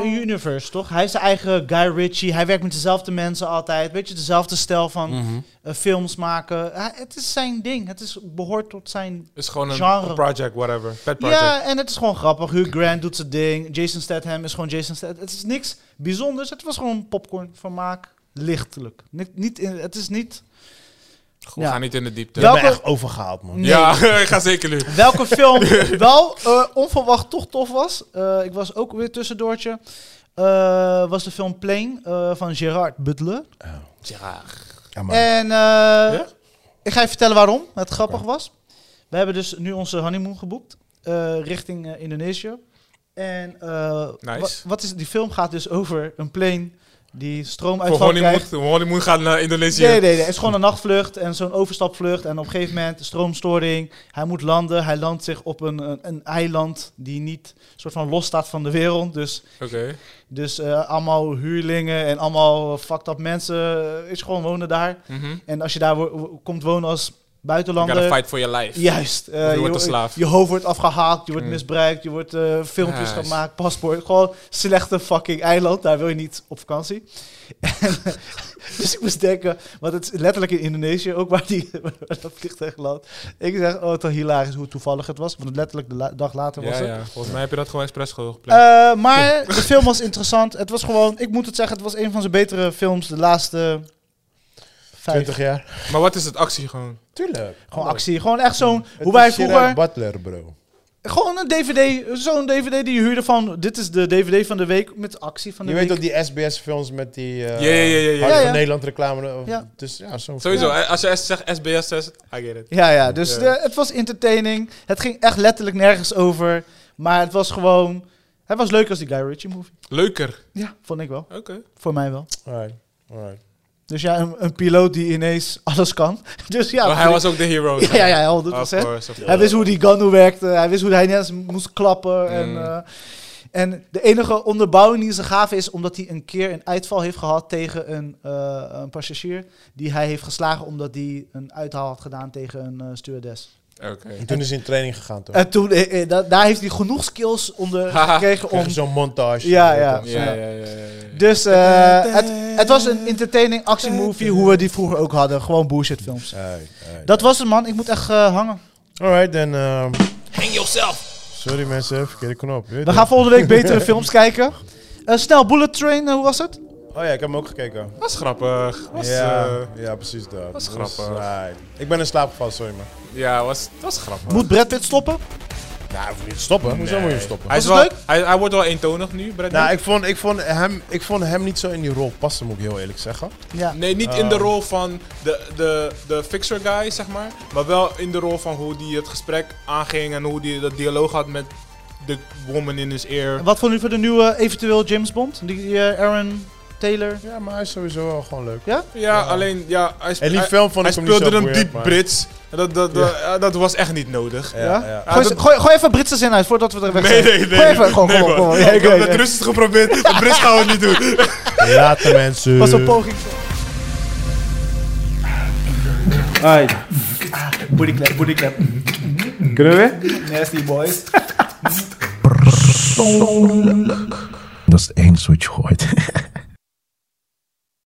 Speaker 2: een universe, toch? Hij heeft zijn eigen Guy Ritchie. Hij werkt met dezelfde mensen altijd. Weet je, dezelfde stijl van
Speaker 1: Mhm.
Speaker 2: eh, films maken. Hij- het is zijn ding. Het is, behoort tot zijn.
Speaker 1: Het is gewoon een
Speaker 2: Genre.
Speaker 1: project, whatever. Pet project.
Speaker 2: Ja, en het is gewoon grappig. Hugh Grant doet zijn ding. Jason Statham is gewoon Jason Statham. Het is niks bijzonders. Het was gewoon popcorn vermaak. Lichtelijk. Niet, niet in, het is niet.
Speaker 1: We
Speaker 2: Ja.
Speaker 1: gaan niet in de diepte.
Speaker 3: Ik
Speaker 2: Welke- Mm.
Speaker 3: ben echt overgehaald, man.
Speaker 2: Nee.
Speaker 1: Ja, ik ga zeker nu.
Speaker 2: Welke film wel eh, onverwacht toch tof was. eh, ik was ook weer tussendoortje. eh, was de film Plane eh, van Gerard Butler.
Speaker 3: Ja, man.
Speaker 2: En eh,
Speaker 1: Ja?
Speaker 2: ik ga je vertellen waarom het grappig was. We hebben dus nu onze honeymoon geboekt eh, richting eh, Indonesië. En eh,
Speaker 1: Nice.
Speaker 2: wa- wat is, die film gaat dus over een plane die
Speaker 1: Voor
Speaker 2: stroomuitval
Speaker 1: honeymoon,
Speaker 2: krijgt.
Speaker 1: honeymoon gaan naar Indonesië.
Speaker 2: Nee, nee, nee. Het is gewoon een nachtvlucht en zo'n overstapvlucht. En op een gegeven moment stroomstoring. Hij moet landen. Hij landt zich op een, een, een eiland die niet soort van los staat van de wereld. Dus,
Speaker 1: Oké.
Speaker 2: dus eh, allemaal huurlingen en allemaal fucked up mensen eh, is gewoon wonen daar.
Speaker 1: Mhm.
Speaker 2: En als je daar wo- wo- komt wonen als
Speaker 1: You gotta
Speaker 2: buitenlander...
Speaker 1: fight for your life.
Speaker 2: Juist. eh,
Speaker 1: Of je wordt een slaaf.
Speaker 2: Je hoofd wordt afgehaakt, je wordt
Speaker 1: Mm.
Speaker 2: misbruikt, je wordt eh, filmpjes
Speaker 1: Nice.
Speaker 2: gemaakt, paspoort. Gewoon slechte fucking eiland, daar wil je niet op vakantie. En, dus ik moest denken, want het is letterlijk in Indonesië ook waar, die, waar dat vliegtuig landt. Ik zeg, oh, toch hilarisch hoe toevallig het was, want letterlijk de la- dag later was
Speaker 1: Ja,
Speaker 2: het.
Speaker 1: ja. Volgens mij heb je dat gewoon expres ge- gepland.
Speaker 2: Eh, maar de film was interessant. Het was gewoon, ik moet het zeggen, het was een van zijn betere films de laatste vijf.
Speaker 3: 20 jaar.
Speaker 1: maar wat is het actie gewoon?
Speaker 3: Tuurlijk.
Speaker 2: Gewoon
Speaker 3: Hallo.
Speaker 2: actie. Gewoon echt zo'n,
Speaker 3: Het
Speaker 2: hoe
Speaker 3: is
Speaker 2: wij
Speaker 3: Gerard
Speaker 2: vroeger...
Speaker 3: Butler, bro.
Speaker 2: Gewoon een DVD, zo'n DVD die je huurde van... Dit is de DVD van de week met actie van de
Speaker 3: Je weet
Speaker 2: week.
Speaker 3: toch die SBS-films met die... eh
Speaker 1: Ja, ja, ja, ja, ja.
Speaker 3: Hart van
Speaker 2: Ja, ja.
Speaker 3: Nederland reclame. Of,
Speaker 2: Ja.
Speaker 3: Dus ja, zo'n
Speaker 1: Sowieso, eh, als je zegt SBS 6, I get it.
Speaker 2: Ja, ja, dus
Speaker 1: Ja.
Speaker 2: de- het was entertaining. Het ging echt letterlijk nergens over. Maar het was gewoon... Het was leuk als die Guy Ritchie movie.
Speaker 1: Leuker.
Speaker 2: Ja, vond ik wel.
Speaker 1: Oké.
Speaker 2: Voor mij wel.
Speaker 3: Alright, alright.
Speaker 2: Dus ja, een, een piloot die ineens alles kan. Dus ja,
Speaker 1: maar hij was Ah, ook de hero.
Speaker 2: Ja, ja, ja, 100%.
Speaker 1: Of course, of
Speaker 2: Hij wist hoe die gun werkte. Hij wist hoe hij net moest klappen. En,
Speaker 1: Mm.
Speaker 2: eh, en de enige onderbouwing die ze gaven is omdat hij een keer een uitval heeft gehad tegen een, eh, een passagier. Die hij heeft geslagen omdat hij een uithaal had gedaan tegen een eh, stewardess.
Speaker 1: course. Oké.
Speaker 3: En toen is hij in training gegaan toch?
Speaker 2: En toen, eh, eh, da- daar heeft hij genoeg skills onder
Speaker 1: Haha.
Speaker 2: gekregen om...
Speaker 3: Krijg je zo'n montage.
Speaker 2: Ja, ja.
Speaker 1: Ja, ja, ja, ja, ja, ja.
Speaker 2: Dus eh, het, het was een entertaining actiemovie hoe we die vroeger ook hadden. Gewoon bullshit films.
Speaker 3: Alright, alright.
Speaker 2: Dat was het man, ik moet echt eh, hangen.
Speaker 3: Alright, dan... ehm,
Speaker 1: Hang yourself!
Speaker 3: sorry mensen, verkeerde knop. Weet
Speaker 2: We
Speaker 3: je.
Speaker 2: gaan volgende week betere films kijken. Eh, snel, Bullet Train, eh, hoe was het?
Speaker 3: Oh ja, ik heb hem ook gekeken.
Speaker 1: Dat is eh, grappig. Was,
Speaker 3: ja,
Speaker 1: ja.
Speaker 2: eh,
Speaker 3: ja, precies dat.
Speaker 1: was
Speaker 3: Dus,
Speaker 1: grappig.
Speaker 3: alright. Ik ben in slaap gevallen, sorry man.
Speaker 1: ja, was, was grappig.
Speaker 2: Moet Brad Pitt stoppen?
Speaker 3: Nou, hoef je niet te stoppen. Hoezo moet je hem stoppen?
Speaker 1: hij, is
Speaker 2: Was
Speaker 1: wel,
Speaker 2: het
Speaker 1: hij, hij wordt wel eentonig nu, Brad
Speaker 3: Nou,
Speaker 1: Pitt.
Speaker 3: ik vond, ik, vond hem, ik vond hem niet zo in die rol passen, moet ik heel eerlijk zeggen.
Speaker 2: Ja.
Speaker 1: Nee, niet in de
Speaker 3: Oh.
Speaker 1: rol van de, de, de fixer guy, zeg maar. Maar wel in de rol van hoe hij het gesprek aanging en hoe hij dat dialoog had met de woman in his ear.
Speaker 2: En Wat vond u van de nieuwe eh, eventueel James Bond? Die eh, Aaron Taylor?
Speaker 3: Ja, maar hij is sowieso wel gewoon leuk.
Speaker 1: Ja, alleen, ja, hij, sp-
Speaker 3: En die
Speaker 1: hij,
Speaker 3: film vond
Speaker 1: hij
Speaker 3: ik hem niet zo
Speaker 1: speelde hem
Speaker 3: boeiend,
Speaker 1: diep
Speaker 3: maar-
Speaker 1: Brits. En Dat, dat, dat, eh, dat was echt niet nodig.
Speaker 3: Ja,
Speaker 2: Ja?
Speaker 3: ja.
Speaker 2: Gooi,
Speaker 1: Ah, dat-
Speaker 2: gooi, gooi even een Britse zin uit voordat we er weg
Speaker 1: Nee,
Speaker 2: zijn.
Speaker 1: nee, nee.
Speaker 2: Gooi even, gewoon,
Speaker 1: nee,
Speaker 2: kom op, kom op.
Speaker 1: man.
Speaker 2: Ja,
Speaker 1: Ik
Speaker 2: oké,
Speaker 1: heb het
Speaker 2: ja.
Speaker 1: rustig geprobeerd. De Brits gaan we niet doen.
Speaker 3: Later mensen.
Speaker 2: Was een poging.
Speaker 4: Alright,
Speaker 2: Bodyclap, bodyclap.
Speaker 4: kunnen we weer?
Speaker 2: Nasty boys.
Speaker 5: Dat is het enige wat je hoort.